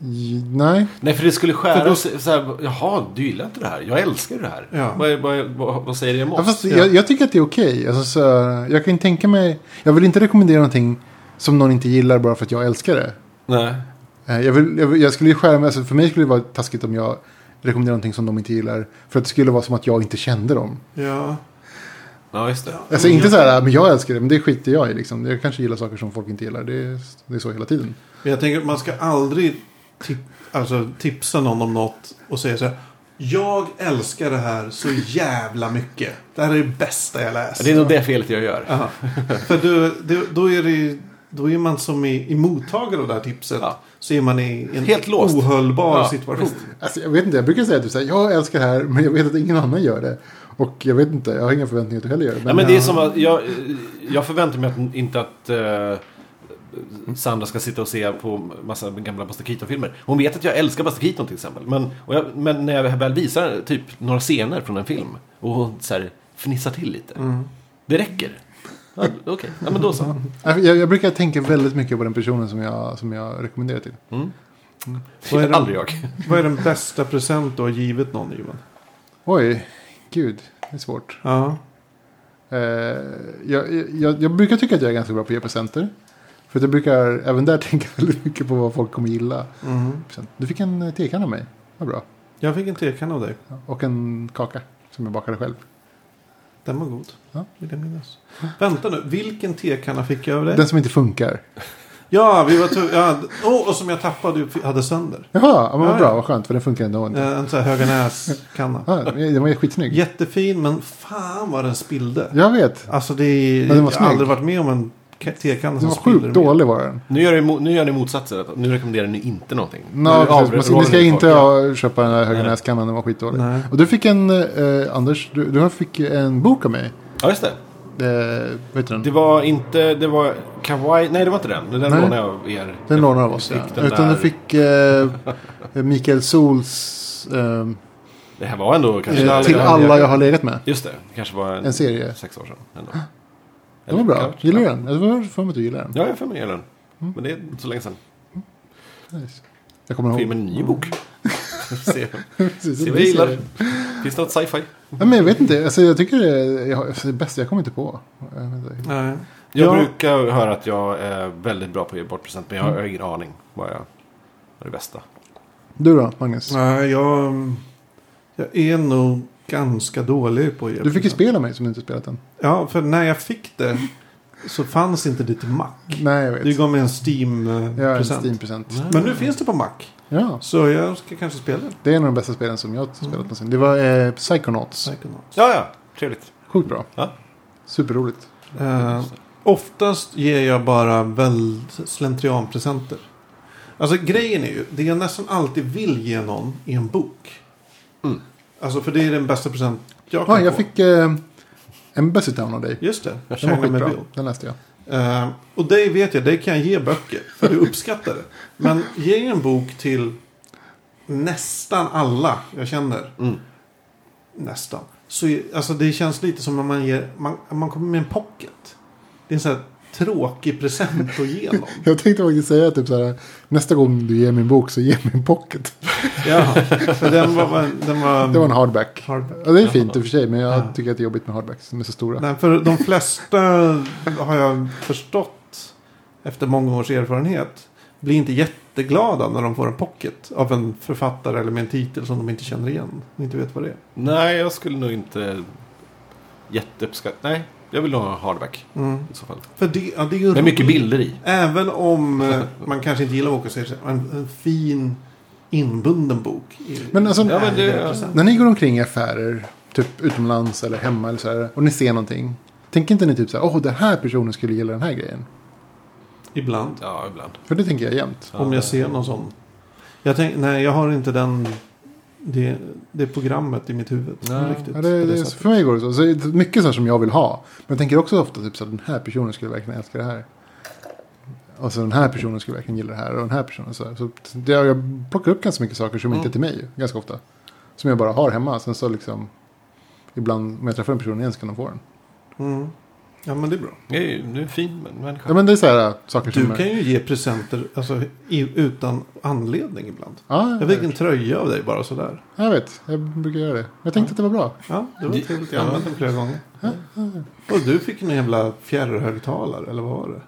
C: J- Nej,
A: Nej, för det skulle
B: För
A: skära
B: då-
A: sig. Så här, Jaha, du gillar inte det här. Jag älskar det här.
B: Ja.
A: Vad, är- vad, är- vad, vad säger det om
C: ja,
A: oss?
C: fast
B: ja.
C: jag, jag tycker att det är okej. Alltså, så här, jag kan ju tänka mig, jag vill inte rekommendera någonting som någon inte gillar bara för att jag älskar det.
A: Nej.
C: Eh, Jag, vill, jag, vill- jag skulle ju skära mig, alltså, för mig skulle det vara taskigt om jag rekommenderar någonting som de inte gillar. För att det skulle vara som att jag inte kände dem.
B: Ja.
A: Ja, just det.
C: Alltså inte så här, men jag älskar det, men det skiter jag i liksom. Jag kanske gillar saker som folk inte gillar. Det är, det är så hela tiden.
B: Men jag tänker att man ska aldrig tip alltså, tipsa någon om något och säga så här. Jag älskar det här så jävla mycket. Det här är det bästa jag läst.
A: Det är nog det felet jag gör.
B: Aha. För då, då, då, är det, ju- då är man som i, i mottagare av det här tipset.
A: Ja.
B: Så är man i en
A: Helt låst.
B: ohållbar
A: Ja,
B: situation.
C: Alltså, jag vet inte, jag brukar säga typ så här, jag älskar det här, men jag vet att ingen annan gör det. Och jag vet inte, jag har inga förväntningar att du heller gör det.
A: Nej, men det är som att jag, jag förväntar mig att, inte att eh, Sandra ska sitta och se på massa gamla Buster Keaton-filmer. Hon vet att jag älskar Buster Keaton till exempel. Men, och jag, men när jag väl visar typ några scener från en film och hon så här, fnissar till lite.
B: Mm.
A: Det räcker. Ja, Okej, ja, men då så. Mm.
C: Nej, Jag, jag brukar tänka väldigt mycket på den personen som jag, som jag rekommenderar till.
A: Det
B: Vad är
A: är
B: det-
A: aldrig jag.
B: Vad är den bästa present du har givit någon Johan?
C: Oj, gud, det är svårt.
B: Ja.
C: Eh, jag, jag, jag brukar tycka att jag är ganska bra på att ge presenter. För att jag brukar även där [LAUGHS] tänka väldigt mycket på vad folk kommer gilla.
B: Mm.
C: Present. Du fick en eh, tekanna av mig, vad bra.
B: Jag fick en tekan av dig.
C: Ja, Och en kaka som jag bakade själv.
B: Den var god.
C: Ja.
B: Vill jag minnas. Vänta nu. Vilken tekanna fick jag av dig?
C: Den som inte funkar.
B: Ja, vi var tu- ja, oh, och som jag tappade och hade sönder.
C: Jaha, ja, men vad
B: Ja,
C: bra,
B: ja.
C: vad skönt, för den funkar ändå inte.
B: Eh, En sån här Höganäs-kanna.
C: Ja, den var ju skitsnygg.
B: Jättefin, men fan vad den spillde.
C: Jag vet.
B: Alltså det är...
C: Men den var
B: jag har
C: snygg.
B: aldrig varit med om en ke- tekanna
C: Den
A: Alltså,
B: som
C: var
B: spiller.
C: sjukt
B: mer.
C: dålig var den.
A: Nu gör, ni, mo- nu gör ni motsatsen. Nu rekommenderar ni inte någonting.
C: No,
A: nu
C: precis, man ska, ni ska
A: avråder ni
C: inte
A: folk.
C: ha, köpa den här Höganäskannan, den var skitdålig.
B: Nej.
C: Och du fick en, eh, Anders, du, du fick ju en bok av mig.
A: Ja, just det.
C: Eh, vad heter den?
A: Det var inte, det var kawaii, nej det var inte den. Den
C: Nej.
A: lånade jag av er.
C: den lånade av oss.
A: fick
C: Ja.
A: den
C: Utan
A: där-
C: du fick eh, Mikael Sols eh,
A: Det här var ändå kanske...
C: eh,
B: alla
C: Till
B: jag
C: alla jag har legat med.
A: Just det, det kanske var en,
C: En serie.
A: sex år sedan. Ändå.
C: Den var
A: Eller-
C: bra.
A: ja,
C: Gillar du
A: ja.
C: den? Jag var för mig att du gillar den.
A: Ja, jag har för mig gillar den. Men det är inte så länge sedan.
C: Jag kommer ihåg.
A: Skriv
C: [LAUGHS]
A: en ny bok. se,
C: Precis,
A: se vad
C: det
A: jag
C: blir så.
A: gillar. Finns det något sci-fi?
C: Ja, men jag vet inte. Alltså, jag tycker det är jag, alltså, det bästa. Jag kommer inte på. Eh, Jag vet inte.
B: Nej.
A: Jag
B: Ja.
A: brukar höra att jag är väldigt bra på att ge bort present. Men jag
C: Mm.
A: har ingen aning vad jag vad det bästa.
C: Du då, Magnus?
B: Nej, jag, mm, jag är nog ganska dålig på att ge
C: Du fick ju
B: present.
C: spela mig som du inte spelat än.
B: Ja, för när jag fick det så fanns inte det till Mac.
C: Nej, jag
B: Du
C: vet.
B: gav mig en
C: Jag en
B: Steam-present.
C: Steam-present.
B: Men nu finns det på Mac.
C: Ja,
B: Så jag ska kanske spela det.
C: det är en av de bästa spelen som jag har spelat någonsin. Det var eh, Psychonauts.
B: Psychonauts.
A: Ja, ja. Trevligt.
C: Sjukt bra.
A: Ja.
C: Superroligt.
B: Eh, oftast ger jag bara väl slentrianpresenter. Alltså grejen är ju, det jag nästan alltid vill ge någon är en bok.
A: Mm.
B: Alltså för det är den bästa present jag kan
C: Ja, jag
B: få.
C: fick eh, Embassy Town av dig.
B: Just det,
C: Den var
B: China med
C: skitbra.
B: bild.
C: Den läste jag.
B: Eh, och dig vet jag, dig kan jag ge böcker. För du uppskattar det. Men ge en bok till nästan alla jag känner.
A: Mm.
B: Nästan. Så, är- alltså, det känns lite som när man, ger, man, man kommer med en pocket. Det är en sån här tråkig present att ge någon.
C: Jag tänkte faktiskt säga typ så här. Nästa gång du ger mig en bok så ge mig en pocket.
B: Ja, för den var... var- Den var,
C: Det var en hardback.
B: Hardback.
C: Ja, det är fint i och för sig. Men jag
B: Ja.
C: tycker att det är jobbigt med hardbacks som är så stora.
B: Nej, för de flesta har jag förstått efter många års erfarenhet blir inte jätteglada när de får en pocket av en författare eller med en titel som de inte känner igen. Inte vet vad det är.
A: Nej, jag skulle nog inte jätteuppskatta. Nej, jag vill nog ha hardback i så fall.
B: För det, ja, det är ju
A: Mm. Det är mycket
B: roligt.
A: bilder i.
B: Även om eh, man kanske inte gillar att åka så är det så här, en, en fin inbunden bok. är-
C: Men alltså-
A: Ja, men det-
B: är intressant.
C: När ni går omkring i affärer, typ utomlands eller hemma eller så här, och ni ser någonting. Tänker inte ni typ så här, åh den här personen skulle gilla den här grejen?
B: Ibland.
A: Ja, ibland.
C: För det tänker jag jämt.
A: Ja,
B: Om jag
A: det-
B: ser någon sån. Jag tänk, nej, jag har inte den, det, det programmet i mitt huvud.
A: Nej.
B: Riktigt,
C: Ja,
B: på
C: det, det,
B: sättet.
C: för mig går det så. så det är mycket så här som jag vill ha. Men jag tänker också ofta typ så här, den här personen skulle verkligen älska det här. Och så den här personen skulle verkligen gilla det här och den här personen så här. Så det, jag plockar upp ganska mycket saker som inte är till mig ganska ofta. Som jag bara har hemma. Sen så liksom, ibland om jag träffar en person igen så kan de få den.
B: Mm. Ja men det är bra.
A: Jag är ju du är en fin män- människa.
C: Ja men det är så här äh, saker som...
B: Du
C: är-
B: kan ju ge presenter alltså, i, utan anledning ibland.
C: Ja,
B: Jag fick en tröja av dig bara sådär.
C: Jag vet, jag brukar göra det. Jag tänkte att det var bra.
B: Ja, det var
A: Det-
B: trevligt. Jag har använt den flera gånger. Och du fick en jävla fjärrhögtalare, eller vad var det?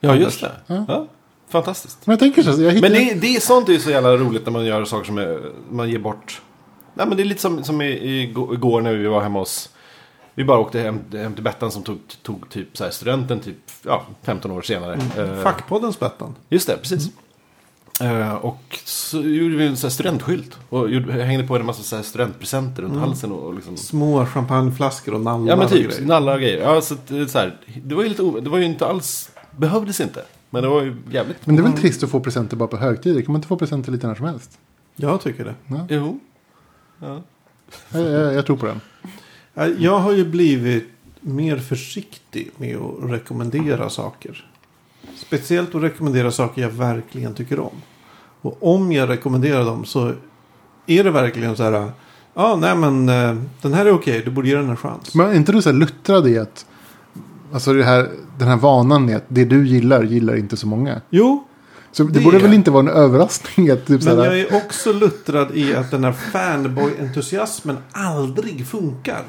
A: Ja, just det.
C: Ja.
A: Ja. Fantastiskt.
C: Men jag tänker så, här, jag hittar
A: Men det, det är sånt är ju så jävla roligt när man gör saker som är, man ger bort. Nej, men det är lite som, som i- i- igår när vi var hemma hos... Vi bara åkte hem, hem till Bettan som tog, tog typ så här studenten typ ja, 15 år senare.
B: Mm.
A: Eh,
B: Fackpoddens Bettan.
A: Just det, precis. Eh, och så gjorde vi en sån här studentskylt. Och gjorde, hängde på en massa så här studentpresenter runt halsen. Och, och liksom,
B: Små champagneflaskor och nallar
A: ja men
B: och
A: typ,
B: grejer.
A: nallar och grejer. Ja, så, att, eh, så här, det, var ju lite, o- det var ju inte alls, behövdes inte. Men det var ju jävligt.
C: Men det är väl trist att få presenter bara på högtider? Kan man inte få presenter lite när som helst?
B: Jag tycker det.
A: Jo. Ja.
C: Jag, jag, jag tror på den.
B: Eh, Jag har ju blivit mer försiktig med att rekommendera saker. Speciellt att rekommendera saker jag verkligen tycker om. Och om jag rekommenderar dem så är det verkligen så här. Ja, ah, nej men eh, den här är okej. Du borde ge den en chans.
C: Men är inte du så här luttrad i att... Alltså det här, den här vanan i att det du gillar gillar inte så många.
B: Jo,
C: Så det,
B: Det
C: borde
B: är
C: väl
B: jag.
C: inte vara en överraskning att typ så
B: men
C: här,
B: jag är också luttrad i att den här fanboy-entusiasmen aldrig funkar.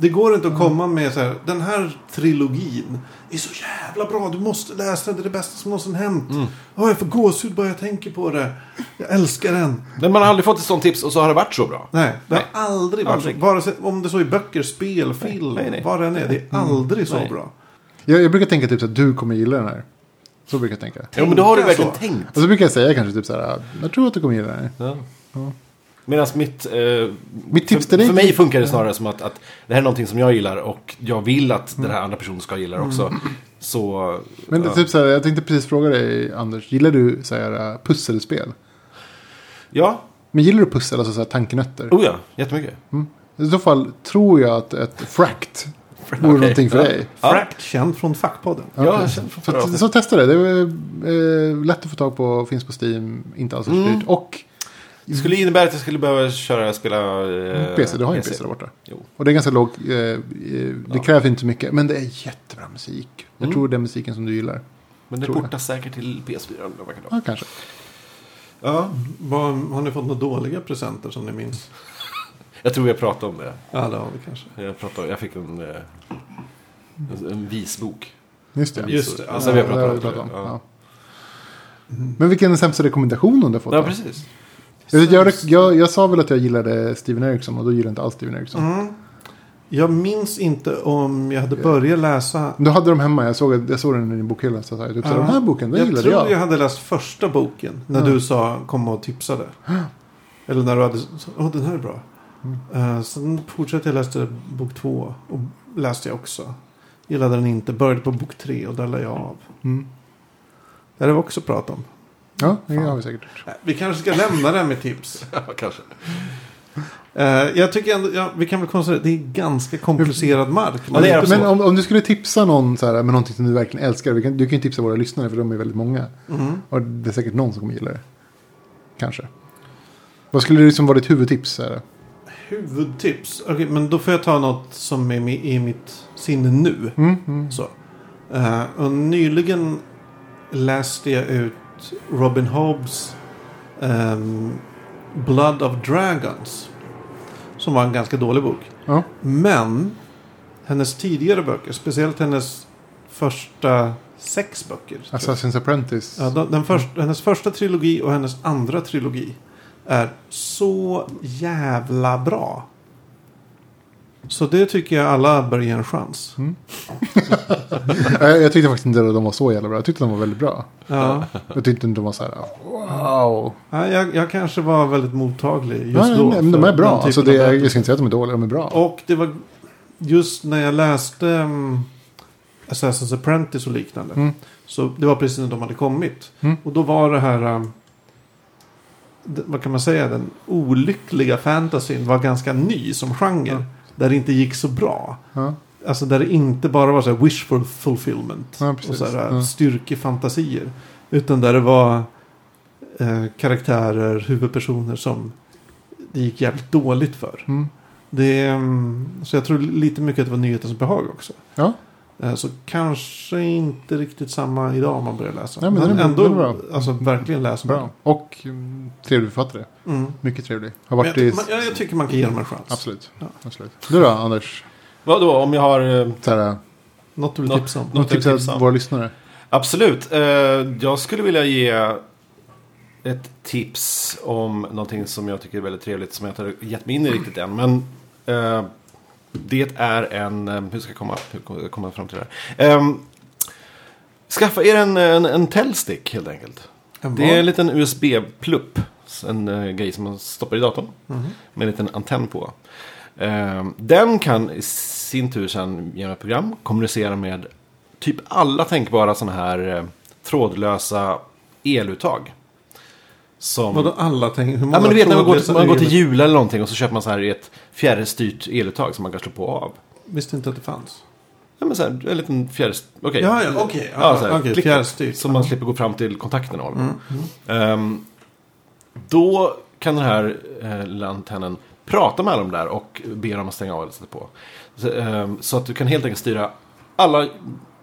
B: Det går inte
A: Mm.
B: att komma med så här. Den här trilogin är så jävla bra. Du måste läsa den. Det är det bästa som någonsin hänt.
A: Mm.
B: Åh, jag får gåshud bara jag tänker på det. Jag älskar den.
A: Men man har aldrig fått ett sånt tips och så har det varit så bra.
B: Nej, det har
A: Nej.
B: aldrig varit
A: Aldrig.
B: så. Vare sig, om det så är böcker, spel, film,
A: nej, nej.
B: vad det än är. Det är aldrig så
A: Nej.
B: bra.
C: jag, jag brukar tänka typ så här, du kommer gilla den här. Så brukar jag tänka.
A: Jo, men då har du
B: Tänka
A: verkligen
B: så.
A: tänkt.
C: Och så brukar jag säga kanske typ så här, jag tror att du kommer gilla den här.
A: Ja. Medan mitt... Eh,
C: Mitt tips
A: för,
C: till dig-
A: För mig funkar det snarare som att, att det här är någonting som jag gillar och jag vill att den här andra personen ska gilla det också. Så...
C: Mm. Men
A: ja.
C: typ så här, jag tänkte precis fråga dig Anders, gillar du så här äh, pusselspel?
A: ja.
C: Men gillar du pussel, alltså så här tankenötter?
A: Oh ja, jättemycket.
C: I så fall tror jag att
B: [LAUGHS]
C: ett frakt vore någonting för
A: ja.
C: dig.
A: Ja.
B: Fract, känd från Fackpodden.
A: Ja,
C: Ja,
A: jag känner
C: Så,
A: för
C: att- så testa det. Det är eh, lätt att få tag på. Finns på Steam. Inte alls så
A: Mm.
C: dyrt. Och
A: Det skulle innebära att jag skulle behöva köra, spela... Eh,
C: PC. Mm, Du har ju en PC där borta.
A: Jo.
C: Och det är ganska låg. Eh, eh, det krävs inte så mycket. Men det är jättebra
A: Mm.
C: musik. Jag tror det är musiken som du gillar.
A: Men det
C: Tror jag.
A: portas säkert till PS4. om det verkar vara.
C: Ja, kanske.
A: Ja,
B: Vad, har ni fått några dåliga presenter som ni minns?
A: jag tror jag pratade om det.
B: Ja, det har vi kanske.
A: Jag, pratade, jag fick en, eh, en, en visbok.
C: Just det.
B: Just det.
A: Alltså, vi har
C: det
A: pratat
C: har
A: om
C: vi
A: det.
C: pratat om. Ja.
A: Ja.
C: Men vilken är den sämsta rekommendationen du har fått?
A: ja,
C: då?
A: precis.
C: jag, jag, jag, jag sa väl att jag gillade Steven Eriksson och då gillade jag inte alls Steven Eriksson.
B: Mm. Jag minns inte om jag hade börjat läsa.
C: Du hade dem hemma, jag såg, jag såg den i bokhyllan. Så jag typ, så här,
B: Ja.
C: den här boken, den
B: jag
C: gillade
B: tror
C: jag.
B: jag hade läst första boken. När
C: Mm.
B: du sa, kom och tipsade.
A: [GASPS]
B: Eller när du hade, så, åh den här är bra.
A: Mm.
B: Eh, sen fortsatte jag läsa bok två. Och läste jag också. Gillade den inte. Började på bok tre och där la jag av.
C: Mm.
B: Det har vi också pratat om.
C: Ja, det har vi säkert.
B: Nej, Vi kanske ska lämna det här med tips.
A: [LAUGHS] Ja, kanske.
B: Eh, jag tycker ändå, ja, vi kan väl konstatera att det är ganska komplicerad mark.
A: Mm. Ja, det är
C: Men
A: absolut.
C: om, om du skulle tipsa någon så här, med någonting som du verkligen älskar. Vi kan, du kan ju tipsa våra lyssnare för de är väldigt många.
B: Mm.
C: Och det är säkert någon som kommer gilla det. Kanske. Vad skulle det liksom vara ditt huvudtips? Så här?
B: Huvudtips? Okej, men då får jag ta något som är mi- i mitt sinne nu.
C: Mm, mm.
B: Så. Eh, och nyligen läste jag ut Robin Hobbs ehm, Blood of Dragons. Som var en ganska dålig bok.
C: Ja.
B: Men hennes tidigare böcker, speciellt hennes första sex böcker. tror jag.
C: Assassin's Apprentice.
B: Ja, den, den först, hennes första trilogi och hennes andra trilogi är så jävla bra. Så det tycker jag alla bör ge en chans.
C: Nej, [LAUGHS] Jag tyckte faktiskt inte att de var så jävla bra. Jag tyckte de var väldigt bra.
B: Ja.
C: Jag tyckte inte de var så här wow.
B: Ja, jag, jag kanske var väldigt mottaglig just
C: Nej, nej,
B: då.
C: nej, men de
B: för
C: är bra.
B: den typen
C: Alltså, det
B: av
C: är, jag
B: berättelser.
C: ska inte säga att de är dåliga, de är bra.
B: Och det var just när jag läste mm, Assassin's Apprentice och liknande.
C: Mm.
B: Så det var precis när de hade kommit.
C: Mm.
B: Och då var det här, um, d- vad kan man säga, den olyckliga fantasyn var ganska ny som genre.
C: Ja.
B: Där det inte gick så bra.
C: Ja.
B: Alltså där det inte bara var så här wishful fulfillment.
C: Ja,
B: och
C: precis.
B: så här
C: Ja.
B: styrkefantasier. Utan där det var eh, karaktärer, huvudpersoner som det gick jävligt dåligt för.
C: Mm.
B: Det, är, mm, så jag tror lite mycket att det var nyhetens behag också.
C: Ja.
B: Eh, Så kanske inte riktigt samma idag om man börjar läsa.
C: Nej, men den är-
B: ändå
C: den är bra. Mm.
B: Alltså, verkligen läsbar.
C: Bra. Och mm, trevlig författare.
B: Mm.
C: Mycket trevlig. Har
B: Men jag,
C: varit i...
B: ty- man, jag, jag tycker man kan ge dem en chans.
C: Absolut.
B: Ja.
C: Absolut. Du då, Anders?
A: Vadå, om jag har... eh,
C: Så här,
B: Något du vill
A: Nå-
B: tipsa om?
A: nå-
C: de
A: Något jag
C: tipsar
A: tipsar om.
C: våra lyssnare.
A: Absolut. Eh, jag skulle vilja ge ett tips om någonting som jag tycker är väldigt trevligt som jag inte har gett mig in i riktigt än. Men eh, det är en... eh, Hur ska jag komma, hur kommer jag komma fram till det här? Eh, skaffa er en, en, en Telstick helt enkelt.
B: En
A: Det är en
B: vad?
A: liten USB-plupp. En eh, grej som man stoppar i datorn.
B: Mhm.
A: Med en liten antenn på. Ehm, Den kan i sin tur sen genom ett program kommunicera med typ alla tänkbara sådana här eh, trådlösa eluttag. Som...
B: Vadå alla tänker? Hur många
A: Ja men du vet när man går,
B: trådlösa
A: till, man går till
B: el-
A: jul eller någonting och så köper man så här ett fjärrstyrt eluttag som man kan slå på och av.
B: Visste inte att det fanns.
A: Ja men så här, en liten fjärrstyrt... Okej.
B: Ja, ja, okej.
A: Ja, så här,
B: Okej,
A: klick.
B: fjärrstyrt. Mm,
A: Så man slipper gå fram till kontakten och hålla på. Ehm, då kan den här eh, lilla antennen prata med dem där och be dem att stänga av eller sätta på. Så, ehm, så att du kan helt enkelt styra alla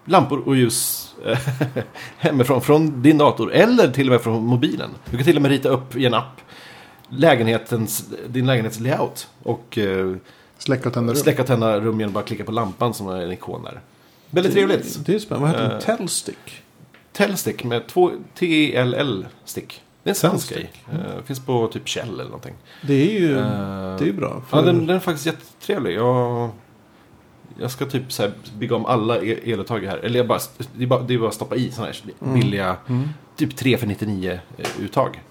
A: lampor och ljus eh, [LAUGHS] hemifrån, från din dator eller till och med från mobilen. Du kan till och med rita upp i en app lägenhetens, din lägenhets layout och eh,
C: Släcka och tända rum.
A: släcka och tända rum genom att bara klicka på lampan som är en ikon där. Väldigt trevligt.
B: Det är spännande. Vad heter den?
A: Eh,
B: Tellstick?
A: Tellstick med två T-E-L-L-stick. Det är en svensk grej.
B: Tellstick.
A: Eh, finns på typ Kjell eller någonting.
B: Det är ju,
A: Eh,
B: det är ju bra. För,
A: Ja, den, den är faktiskt jättetrevlig. Jag, jag ska typ så här bygga om alla e- eluttag här. Eller jag bara, det, är bara, det är bara att stoppa i sådana här
B: Mm.
A: billiga,
C: Mm.
A: typ 3 för 99 eh, uttag.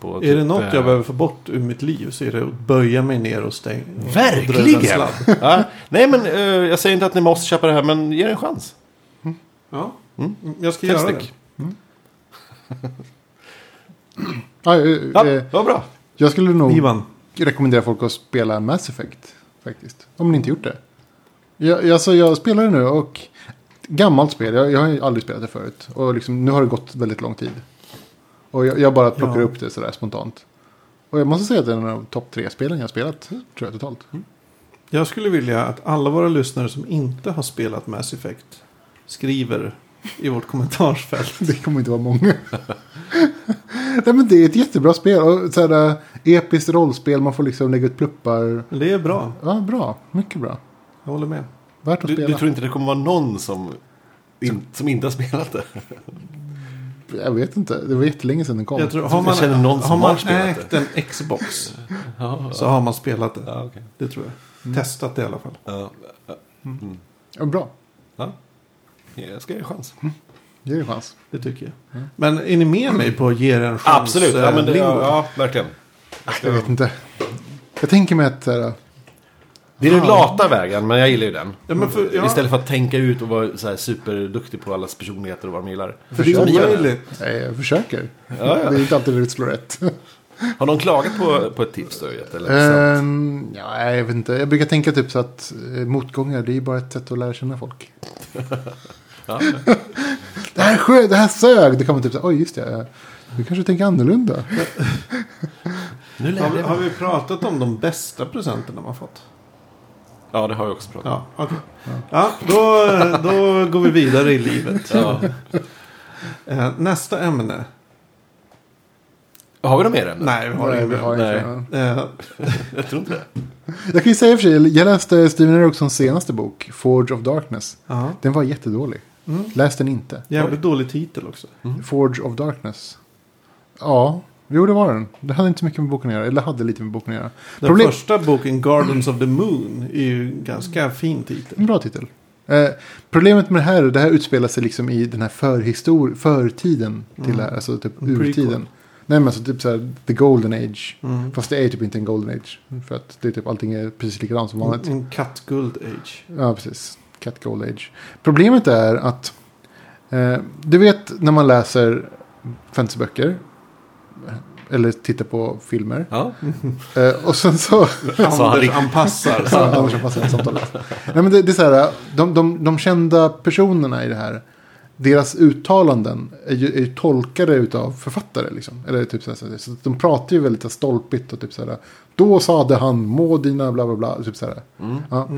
A: På
B: Mm. är
A: typ,
B: det något jag
A: eh,
B: behöver få bort ur mitt liv så är det att böja mig ner och stänga. och dra ut en
A: Verkligen!
B: sladd.
A: ja, nej, men eh, jag säger inte att ni måste köpa det här, men ge det en chans.
B: Ja,
A: Mm.
B: jag ska göra det.
A: Tellstick.
C: Ja, eh,
A: Ja,
C: eh,
A: vad bra.
C: jag skulle
A: Oh.
C: nog
B: Ivan.
C: rekommendera folk att spela Mass Effect. Faktiskt. Om ni inte gjort det. Jag, jag- alltså, jag spelar det nu och gammalt spel. Jag, jag har ju aldrig spelat det förut. Och liksom, nu har det gått väldigt lång tid. Och jag, jag bara plockar
B: Ja.
C: upp det sådär spontant. Och jag måste säga att det är en av topp tre spelen jag har spelat. Tror jag totalt. [LAUGHS]
B: Jag skulle vilja att alla våra lyssnare som inte har spelat Mass Effect skriver i vårt kommentarsfält.
C: Det kommer inte vara många. [LAUGHS] Nej, men det är ett jättebra spel. Och så här, eh, episkt rollspel. Man får liksom lägga ut pluppar.
B: Men det är bra,
C: Ja, bra. Mycket bra.
B: jag håller med.
C: Värt att
A: Du,
C: spela.
A: du tror inte det kommer vara någon som, in, som inte har spelat det?
C: Jag vet inte. Det var jättelänge sedan den kom.
B: Jag tror,
A: Jag
B: har man,
A: känner någon som
B: har man
A: har spelat
B: ägt en Xbox
A: Ja,
B: så har man spelat det.
A: ja, Mm. okej.
B: Det tror jag. Testat det i alla fall.
A: Ja,
C: Ja, bra.
A: ja. Jag ska ge en chans.
C: Ge det en chans.
B: Det tycker jag.
C: Mm.
B: Men är ni med mig på att ge det en chans?
A: Absolut, ja,
B: eh,
A: men det,
B: Limbo?
A: ja, ja, verkligen.
C: Jag vet inte. Jag tänker mig att... eh, så här,
A: Det är den lata vägen, men jag gillar ju den.
B: Ja, men för, ja,
A: Istället för att tänka ut och vara så här superduktig på allas personligheter och vad de gillar.
B: för det är
C: Försök.
B: omöjligt.
C: nej, jag försöker. Det är inte alltid det slår rätt.
A: Har någon klagat på, på ett tips du har gett? Eller? liksom?
C: Ehm, ja, jag vet inte. Jag brukar tänka typ så att eh, motgångar det är ju bara ett sätt att lära känna folk.
A: [LAUGHS] Ja.
C: [LAUGHS] det här sjö, det här sög. Det kan man typ så här, oj just det. eh, Du kanske tänker annorlunda.
A: Nu
B: Har
A: lärde
B: vi,
A: jag
B: har
A: mig.
B: vi pratat om de bästa presenterna man fått?
A: Ja, det har jag också pratat om.
B: Ja, okej. Ja, då, då går vi vidare i livet.
A: Ja.
B: Eh, Nästa ämne.
A: Har vi något mer ämnen?
B: Nej, vi har
C: Nej, vi
B: inget.
C: har
A: Nej.
C: inte.
B: Eh,
A: Jag tror inte det.
C: Jag kan ju säga i och för sig, jag läste Steven Ericssons senaste bok, Forge of Darkness.
B: Ja, mm.
C: Den var jättedålig. Läs den inte.
B: jävligt dålig titel också.
C: Forge of Darkness. Ja, jo det var den. Det hade inte så mycket med boken att göra. Eller hade lite med boken att göra.
B: Den
C: Problem-
B: första boken, Gardens of the Moon, är ju en ganska
C: Mm.
B: fin titel. Mm.
C: En bra titel. Eh, problemet med det här, det här utspelar sig liksom i den här förhistor- förtiden till det här, alltså typ
B: Mm. En prequel.
C: urtiden. Nej men alltså typ så här, the golden age.
B: Mm.
C: Fast det är typ inte en golden age. För att det är typ allting är precis likadant som vanligt.
B: En kattguld age.
C: Ja precis, cat gold age. Problemet är att, eh, du vet när man läser fantasyböcker. eh, Eller tittar på filmer.
A: Ja.
C: Eh, och sen så...
A: Alltså, han
B: Anders
A: riktigt- [LAUGHS]
B: anpassar.
C: Ja, Annars passar inte samtalet. Nej, men det, det är så här, de, de, de kända personerna i det här, deras uttalanden är ju, är ju tolkade utav författare. Liksom. Eller typ så här, så här, så att de pratar ju väldigt så här stolpigt och typ så här, då sade han må dina bla bla bla. Typ så här. Ja.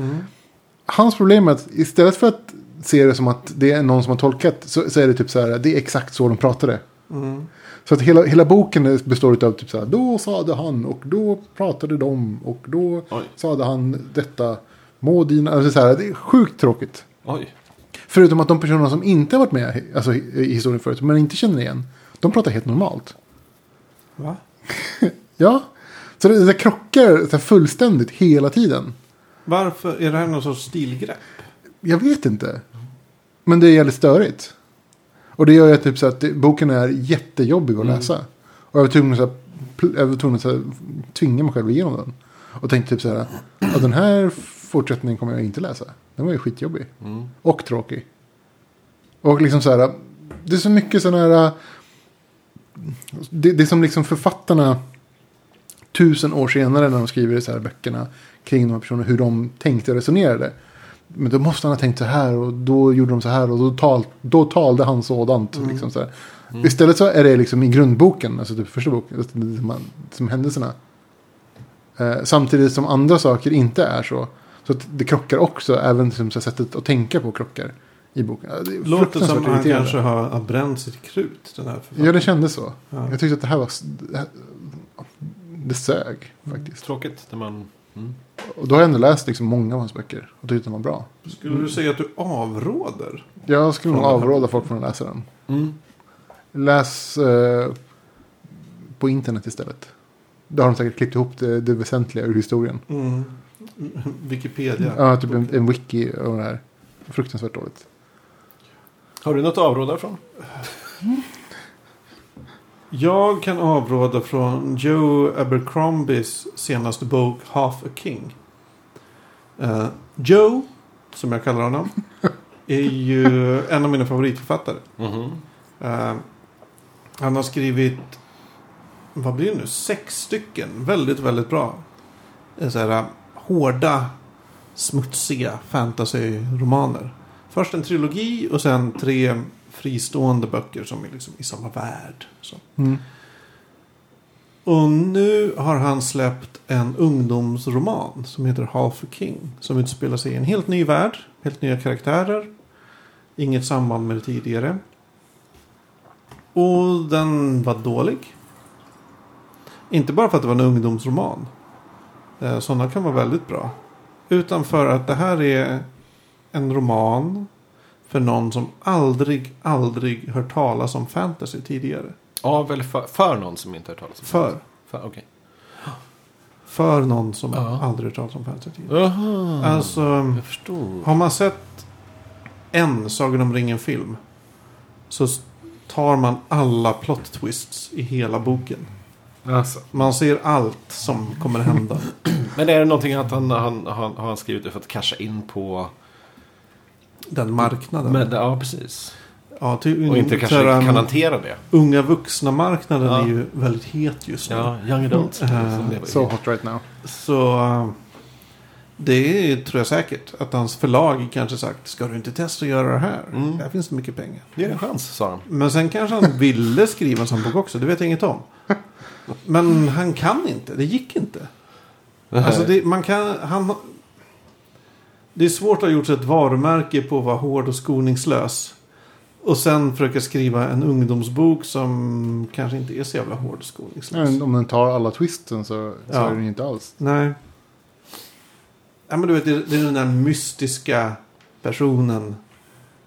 C: Hans problem är att istället för att se det som att det är någon som har tolkat så, så är det typ så här, det är exakt så de pratade.
B: Mm.
C: Så att hela, hela boken består av typ så här, då sade han och då pratade de och då
A: Oj.
C: sade han detta. Må dina, alltså så här, det är sjukt tråkigt.
A: Oj.
C: Förutom att de personerna som inte har varit med alltså, i i historien förut, men inte känner igen, de pratar helt normalt.
B: Va?
C: Ja, så det, det krockar så här, fullständigt hela tiden.
B: Varför? Är det här någon sorts stilgrepp?
C: Jag vet inte. Men det är jävligt störigt. Och det gör ju att typ så att det, boken är jättejobbig att läsa. Och jag var tvungen att, så här, pl- jag var tvungen att så här, tvinga mig själv igenom den. Och tänkte typ så här. "Ja, den här fortsättningen kommer jag inte läsa. Den var ju skitjobbig.
A: Mm.
C: Och tråkig. Och liksom så här. Det är så mycket sådana här. Det, det är som liksom författarna. Tusen år senare när de skriver så här böckerna. Kring de här personerna. Hur de tänkte och resonerade. Men då måste han ha tänkt så här och då gjorde de så här och då, tal, då talade han sådant. Liksom så här. Istället så är det liksom i grundboken, alltså typ första boken, alltså det som, som händelserna. Eh, samtidigt som andra saker inte är så. Så att det krockar också, även liksom, så här, sättet att tänka på krockar i boken. Ja, Det är
B: Låter som
C: fruktansvärt
B: han
C: irriterande.
B: kanske har har bränt sitt krut. Den här författaren.
C: Ja, det kändes så.
B: Ja.
C: Jag tyckte att det här var... s- Det, här, det sög faktiskt.
A: Tråkigt när man... Mm.
C: Och då har jag ändå läst liksom, många av hans böcker och tyckte att de var bra.
B: Skulle du säga att du avråder?
C: Jag skulle nog
B: Från det här.
C: avråda folk från att läsa den.
A: Mm.
C: Läs eh, på internet istället. Där har de säkert klippt ihop det, det väsentliga ur historien.
B: Mm. Wikipedia.
C: Ja, typ en, en wiki och det här. Fruktansvärt dåligt.
A: Har du något att avråda från?
B: Jag kan avråda från Joe Abercrombies senaste bok Half a King. Eh, Joe, som jag kallar
C: [LAUGHS]
B: honom, är ju en av mina favoritförfattare.
A: Mhm.
B: Eh, han har skrivit, vad blir det nu, sex stycken väldigt, väldigt bra. eh, Så här, hårda, smutsiga fantasyromaner. Först en trilogi och sen tre fristående böcker som är liksom i samma värld. Så. Och nu har han släppt en ungdomsroman som heter Half a King. Som utspelar sig i en helt ny värld, helt nya karaktärer. Inget samband med det tidigare. Och den var dålig. Inte bara för att det var en ungdomsroman. Eh, Sådana kan vara väldigt bra. Utan för att det här är en roman för någon som aldrig, aldrig hört talas om fantasy tidigare.
A: Ja, väl för, för någon som inte har hört talas om
B: För,
A: För, okej.
B: för någon som
A: Ja. Mm.
B: aldrig hört talas om fantasy tidigare.
A: Jaha,
B: Alltså,
A: jag förstår.
B: har man sett en Sagan om ringen-film så tar man alla plot twists i hela boken.
A: Alltså.
B: Man ser allt som
A: [LAUGHS]
B: kommer hända.
A: Men är det någonting att han, han, han har han skrivit det för att casha in på...
B: Den marknaden.
A: Med, ja, precis.
B: ja, till,
A: Och inte
B: till
A: kanske
B: den um,
A: kan hantera det.
B: Unga vuxna-marknaden
A: Ja.
B: är ju väldigt het just nu.
A: young adults.
B: Mm.
A: som lever i-
C: So hot right now.
B: Så eh, det är, tror jag säkert att hans förlag kanske sagt ska du inte testa att göra det här?
A: Mm.
B: Där finns det mycket pengar.
A: Ge det en chans, sa han.
B: Men sen kanske han ville skriva en sån bok också. Det vet jag inget om. Men han kan inte. Det gick inte. Alltså det, man kan, han, det är svårt att ha gjort sig ett varumärke på att vara hård och skoningslös. Och sen försöka skriva en ungdomsbok som kanske inte är så jävla hård och skoningslös.
C: Men Typ. Om den tar alla twisten så, så
B: Ja.
C: är den ju inte alls.
B: Nej. Ja, men du vet, det är- det är den där mystiska personen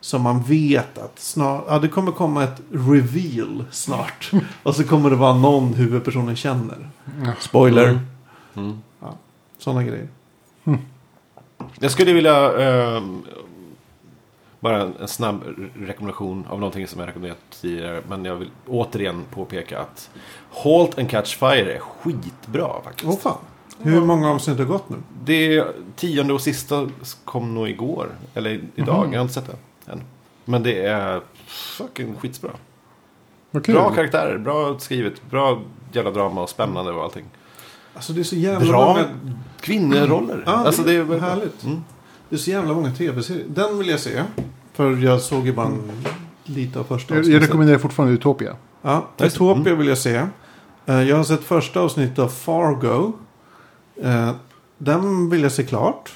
B: som man vet att snart, ja det kommer komma ett reveal
A: [LAUGHS]
B: snart. Och så kommer det vara någon huvudpersonen känner. Spoiler.
A: Mm. Mm.
B: Sådana grejer.
A: Jag skulle vilja... ehm, bara en, en snabb re- rekommendation av någonting som jag rekommenderat tidigare. Men jag vill återigen påpeka att Halt and Catch Fire är skitbra faktiskt.
B: Åh fan. Hur många avsnitt har gått nu?
A: Det tionde och sista kom nog igår. Eller idag.
B: Mhm.
A: Jag har inte sett det än. Men det är fucking skitbra.
C: Vad kul.
A: Bra karaktärer, bra skrivet, bra jävla drama och spännande och allting.
B: Alltså det är så jävla
A: Bra
B: många.
A: kvinnoroller.
B: Ja, det
A: alltså, det är
B: är härligt.
A: Mm.
B: Det är så jävla många tv-serier. Den vill jag se. För jag såg ju bara en,
A: Mm.
B: lite av första
C: jag, jag
B: avsnittet.
C: rekommenderar fortfarande [LAUGHS] Utopia.
B: Ja,
A: Just-
B: Utopia vill jag se. Eh, Jag har sett första avsnittet av Fargo. Eh, Den vill jag se klart.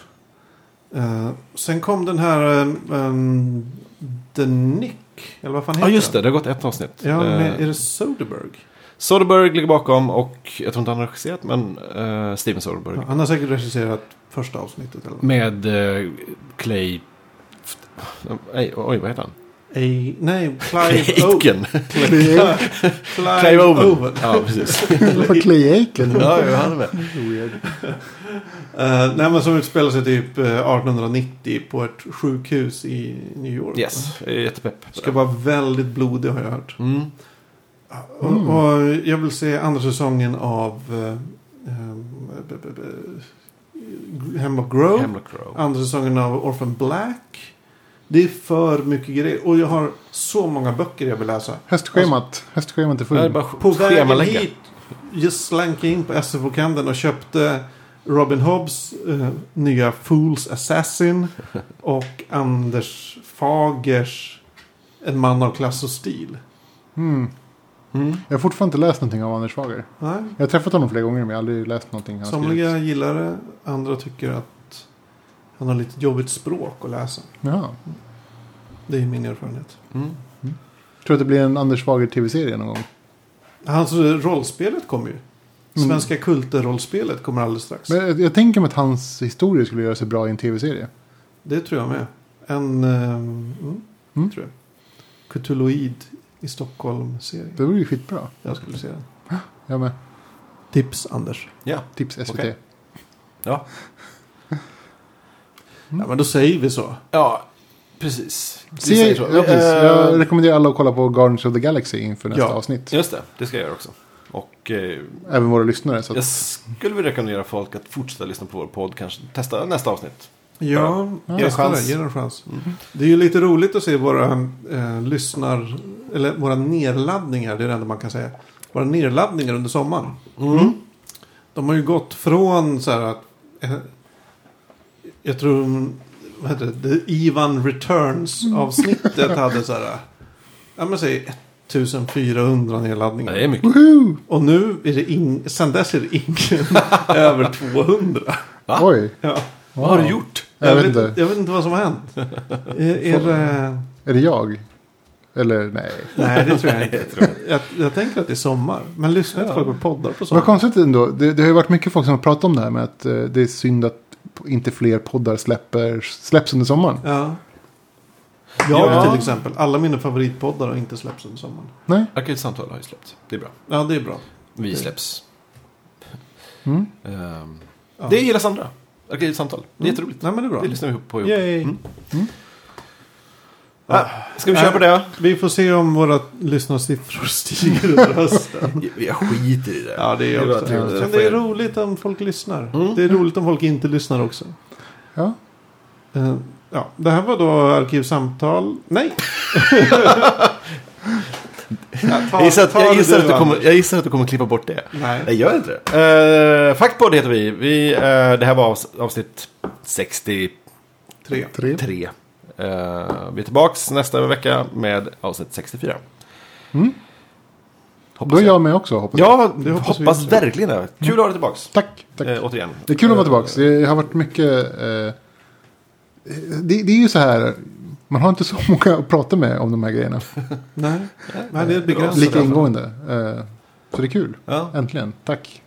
B: Eh, Sen kom den här eh, ehm, The Nick, eller vad fan heter
A: Ja, just det.
B: den?
A: Det har gått ett avsnitt.
B: Ja, med,
A: Eh,
B: är det Soderberg?
A: Soderbergh ligger bakom och jag tror inte han har regisserat men eh, Steven Soderbergh.
B: Ja, han har säkert regisserat första avsnittet. Eller?
A: Med eh, Clay... Nej, oj, vad heter han?
B: Ej, nej,
A: [LAUGHS] Clay
B: Clive Owen.
A: Aitken.
B: Clive,
A: Clive Owen.
B: Owen.
A: Ja, precis. [LAUGHS]
C: Vad var Clay Aiken.
A: ja, jo, han är med.
C: Weird.
B: Eh, nej, men som utspelar sig typ eh, 1890 på ett sjukhus i New York. va?
A: Yes, jag är jättepepp.
B: Ska vara väldigt blodig har jag hört.
A: Mm.
B: Och,
C: Mm.
B: och jag vill se andra säsongen av eh, eh, b- b- b- Hemlock Grove.
A: Hemlock Grove.
B: Andra säsongen av Orphan Black. Det är för mycket grejer. Och jag har så många böcker jag vill läsa.
C: Höstschemat. Höstschemat är
A: Det är
C: fullt.
A: bara
B: På
A: sch-
B: vägen
A: schemalägga.
B: hit jag slank jag in på SF-bokhandeln och köpte Robin Hobbs eh, nya Fools Assassin och Anders Fagers En man av klass och stil.
C: Mm.
A: Mm.
C: Jag har fortfarande inte läst någonting av Anders Fager.
B: Nej,
C: Jag har träffat honom flera gånger men jag har aldrig läst någonting han har skrivit.
B: Somliga gillar det, andra tycker att han har lite jobbigt språk att läsa.
C: Jaha.
B: Det är min erfarenhet.
A: Mm.
C: Tror att det blir en Anders Fager tv-serie någon gång?
B: Hans rollspelet kommer ju.
C: Mm.
B: Svenska kulter-rollspelet kommer alldeles strax.
C: Men jag, jag tänker mig att hans historier skulle göra sig bra i en tv-serie.
B: Det tror jag med. En... eh, mm,
C: Mm.
B: tror jag. Cthulhuid i Stockholm-serie.
C: Det vore ju skitbra.
B: Jag skulle se den.
C: Jag med.
B: Tips, Anders.
A: Ja,
C: Tips SVT.
A: Okej. ja.
C: Mm.
B: Ja, men då säger vi så.
A: Ja, precis. Vi
C: Se,
A: säger så.
C: ja, precis.
A: Eh,
C: Jag rekommenderar alla att kolla på Guardians of the Galaxy inför nästa
B: Ja.
C: avsnitt.
A: Just det, det ska jag göra också. Och eh,
C: Även våra lyssnare. Så att,
A: jag skulle vilja rekommendera folk att fortsätta lyssna på vår podd. Kanske testa nästa avsnitt.
B: Ja,
C: Ja.
A: en
B: ge den chans. Mm-hmm.
A: chans.
B: ge den en chans. Mm. Det är ju lite roligt att se våra eh, lyssnar... Eller våra nedladdningar, det är det enda man kan säga. Våra nedladdningar under sommaren. Mm. De har ju gått från så här att... Eh, jag tror... Vad heter det? The Ivan [LAUGHS] Returns-avsnittet hade så här... eh, Ja, men säg 1400 nedladdningar.
A: Det är mycket.
C: Woohoo!
B: Och nu är det ing- sen dess är det ingen [LAUGHS] över 200.
A: Va?
C: Oj,
B: Ja.
A: Vad har du gjort?
C: jag vet inte.
B: jag vet inte vad som har hänt. är, är det
C: Är det jag? Eller nej.
B: Nej, det tror jag inte.
A: tror jag.
B: Jag, jag tänker att det är sommar. Men lyssnar inte
A: Ja.
B: folk på poddar på
C: Vad
B: sommaren?
C: konstigt ändå. Det, det har ju varit mycket folk som har pratat om det här med att eh, det är synd att inte fler poddar släpper, släpps under sommaren.
B: Ja. Jag
A: Ja.
B: till exempel. Alla mina favoritpoddar har inte släppts under sommaren.
C: Nej?
A: Arkivsamtal har ju släppt. Det är bra.
B: Ja, det är bra.
A: Vi släpps.
C: Mm.
A: Ehm,
B: Ja. Mm.
A: Det gillar Sandra. Arkivsamtal. Det är jätteroligt.
B: Nej, men det är bra.
A: Det lyssnar vi på ihop.
B: Yay.
A: Ah, Ska vi köra på det?
B: Vi får se om våra lyssnarsiffror [LAUGHS] stiger under hösten.
A: Jag skiter i det.
B: Ja, det är
A: bara
B: också.
A: trevligt att
B: Men
A: träffa
B: det är
A: er.
B: roligt om folk lyssnar. Det är roligt om folk inte lyssnar också.
C: Ja.
B: Eh, Ja, det här var då arkivsamtal.
A: [LAUGHS]
B: Nej! Ja, ta-
A: Jag gissar, att,
B: ta
A: jag,
B: det
A: gissar att du
B: Anders.
A: kommer, jag gissar att du kommer klippa bort det.
B: Nej.
A: Nej, gör inte det. Uh, Fackpodd heter vi. vi eh, det här var avs- avsnitt 63.
B: Tre.
C: Tre.
A: Eh, vi är tillbaka nästa vecka med avsnitt 64. Hoppas
C: Då är jag med också hoppas jag.
A: Ja,
B: Det hoppas
A: hoppas,
B: vi också.
A: verkligen det. Kul att ha dig tillbaka.
C: Tack. tack.
A: Eh, återigen.
C: Det är kul att vara tillbaka. Det har varit mycket... Eh, det, det är ju så här. Man har inte så [LAUGHS] många att prata med om de här grejerna.
B: Nej. Nej, det är begränsat.
C: Lika ingående. Eh, så det är kul.
A: Ja.
C: Äntligen. Tack.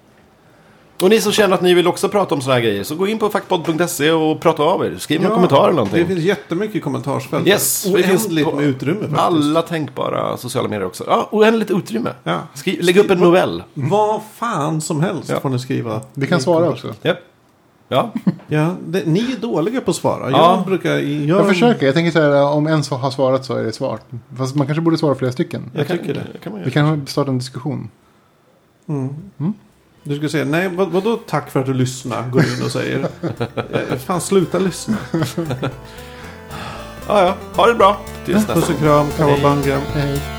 A: Och ni som känner att ni vill också prata om såna här grejer så gå in på fackpodd.se och prata av er. Skriv någon kommentar eller
B: Det
A: någonting.
B: finns jättemycket kommentarsfält.
A: Yes, vi finns
B: Oändligt
A: på
B: med utrymme faktiskt.
A: Alla tänkbara sociala medier också. Ja, oändligt utrymme.
B: Ja.
A: Skri- lägg upp en novell.
B: Vad fan som helst
A: Ja.
B: får ni skriva.
C: Vi kan
B: Ni-
C: svara också.
A: Japp. Ja.
B: Ja, det, ni är dåliga på att svara.
A: Ja.
B: Jag brukar... Jag,
C: Jag försöker. Jag tänker så här. Om en så har svarat så är det svart. Fast man kanske borde svara flera stycken.
B: Jag tycker det.
A: kan man
C: Vi
A: göra.
C: kan starta en diskussion.
B: Du ska säga nej, vad, vadå tack för att du lyssnar, går in
A: [LAUGHS]
B: och säger. Eh, Fan, sluta lyssna.
A: Ja, ja. Ha det bra. Tills nästa
B: Puss och kram, kawabanga.
C: Hej.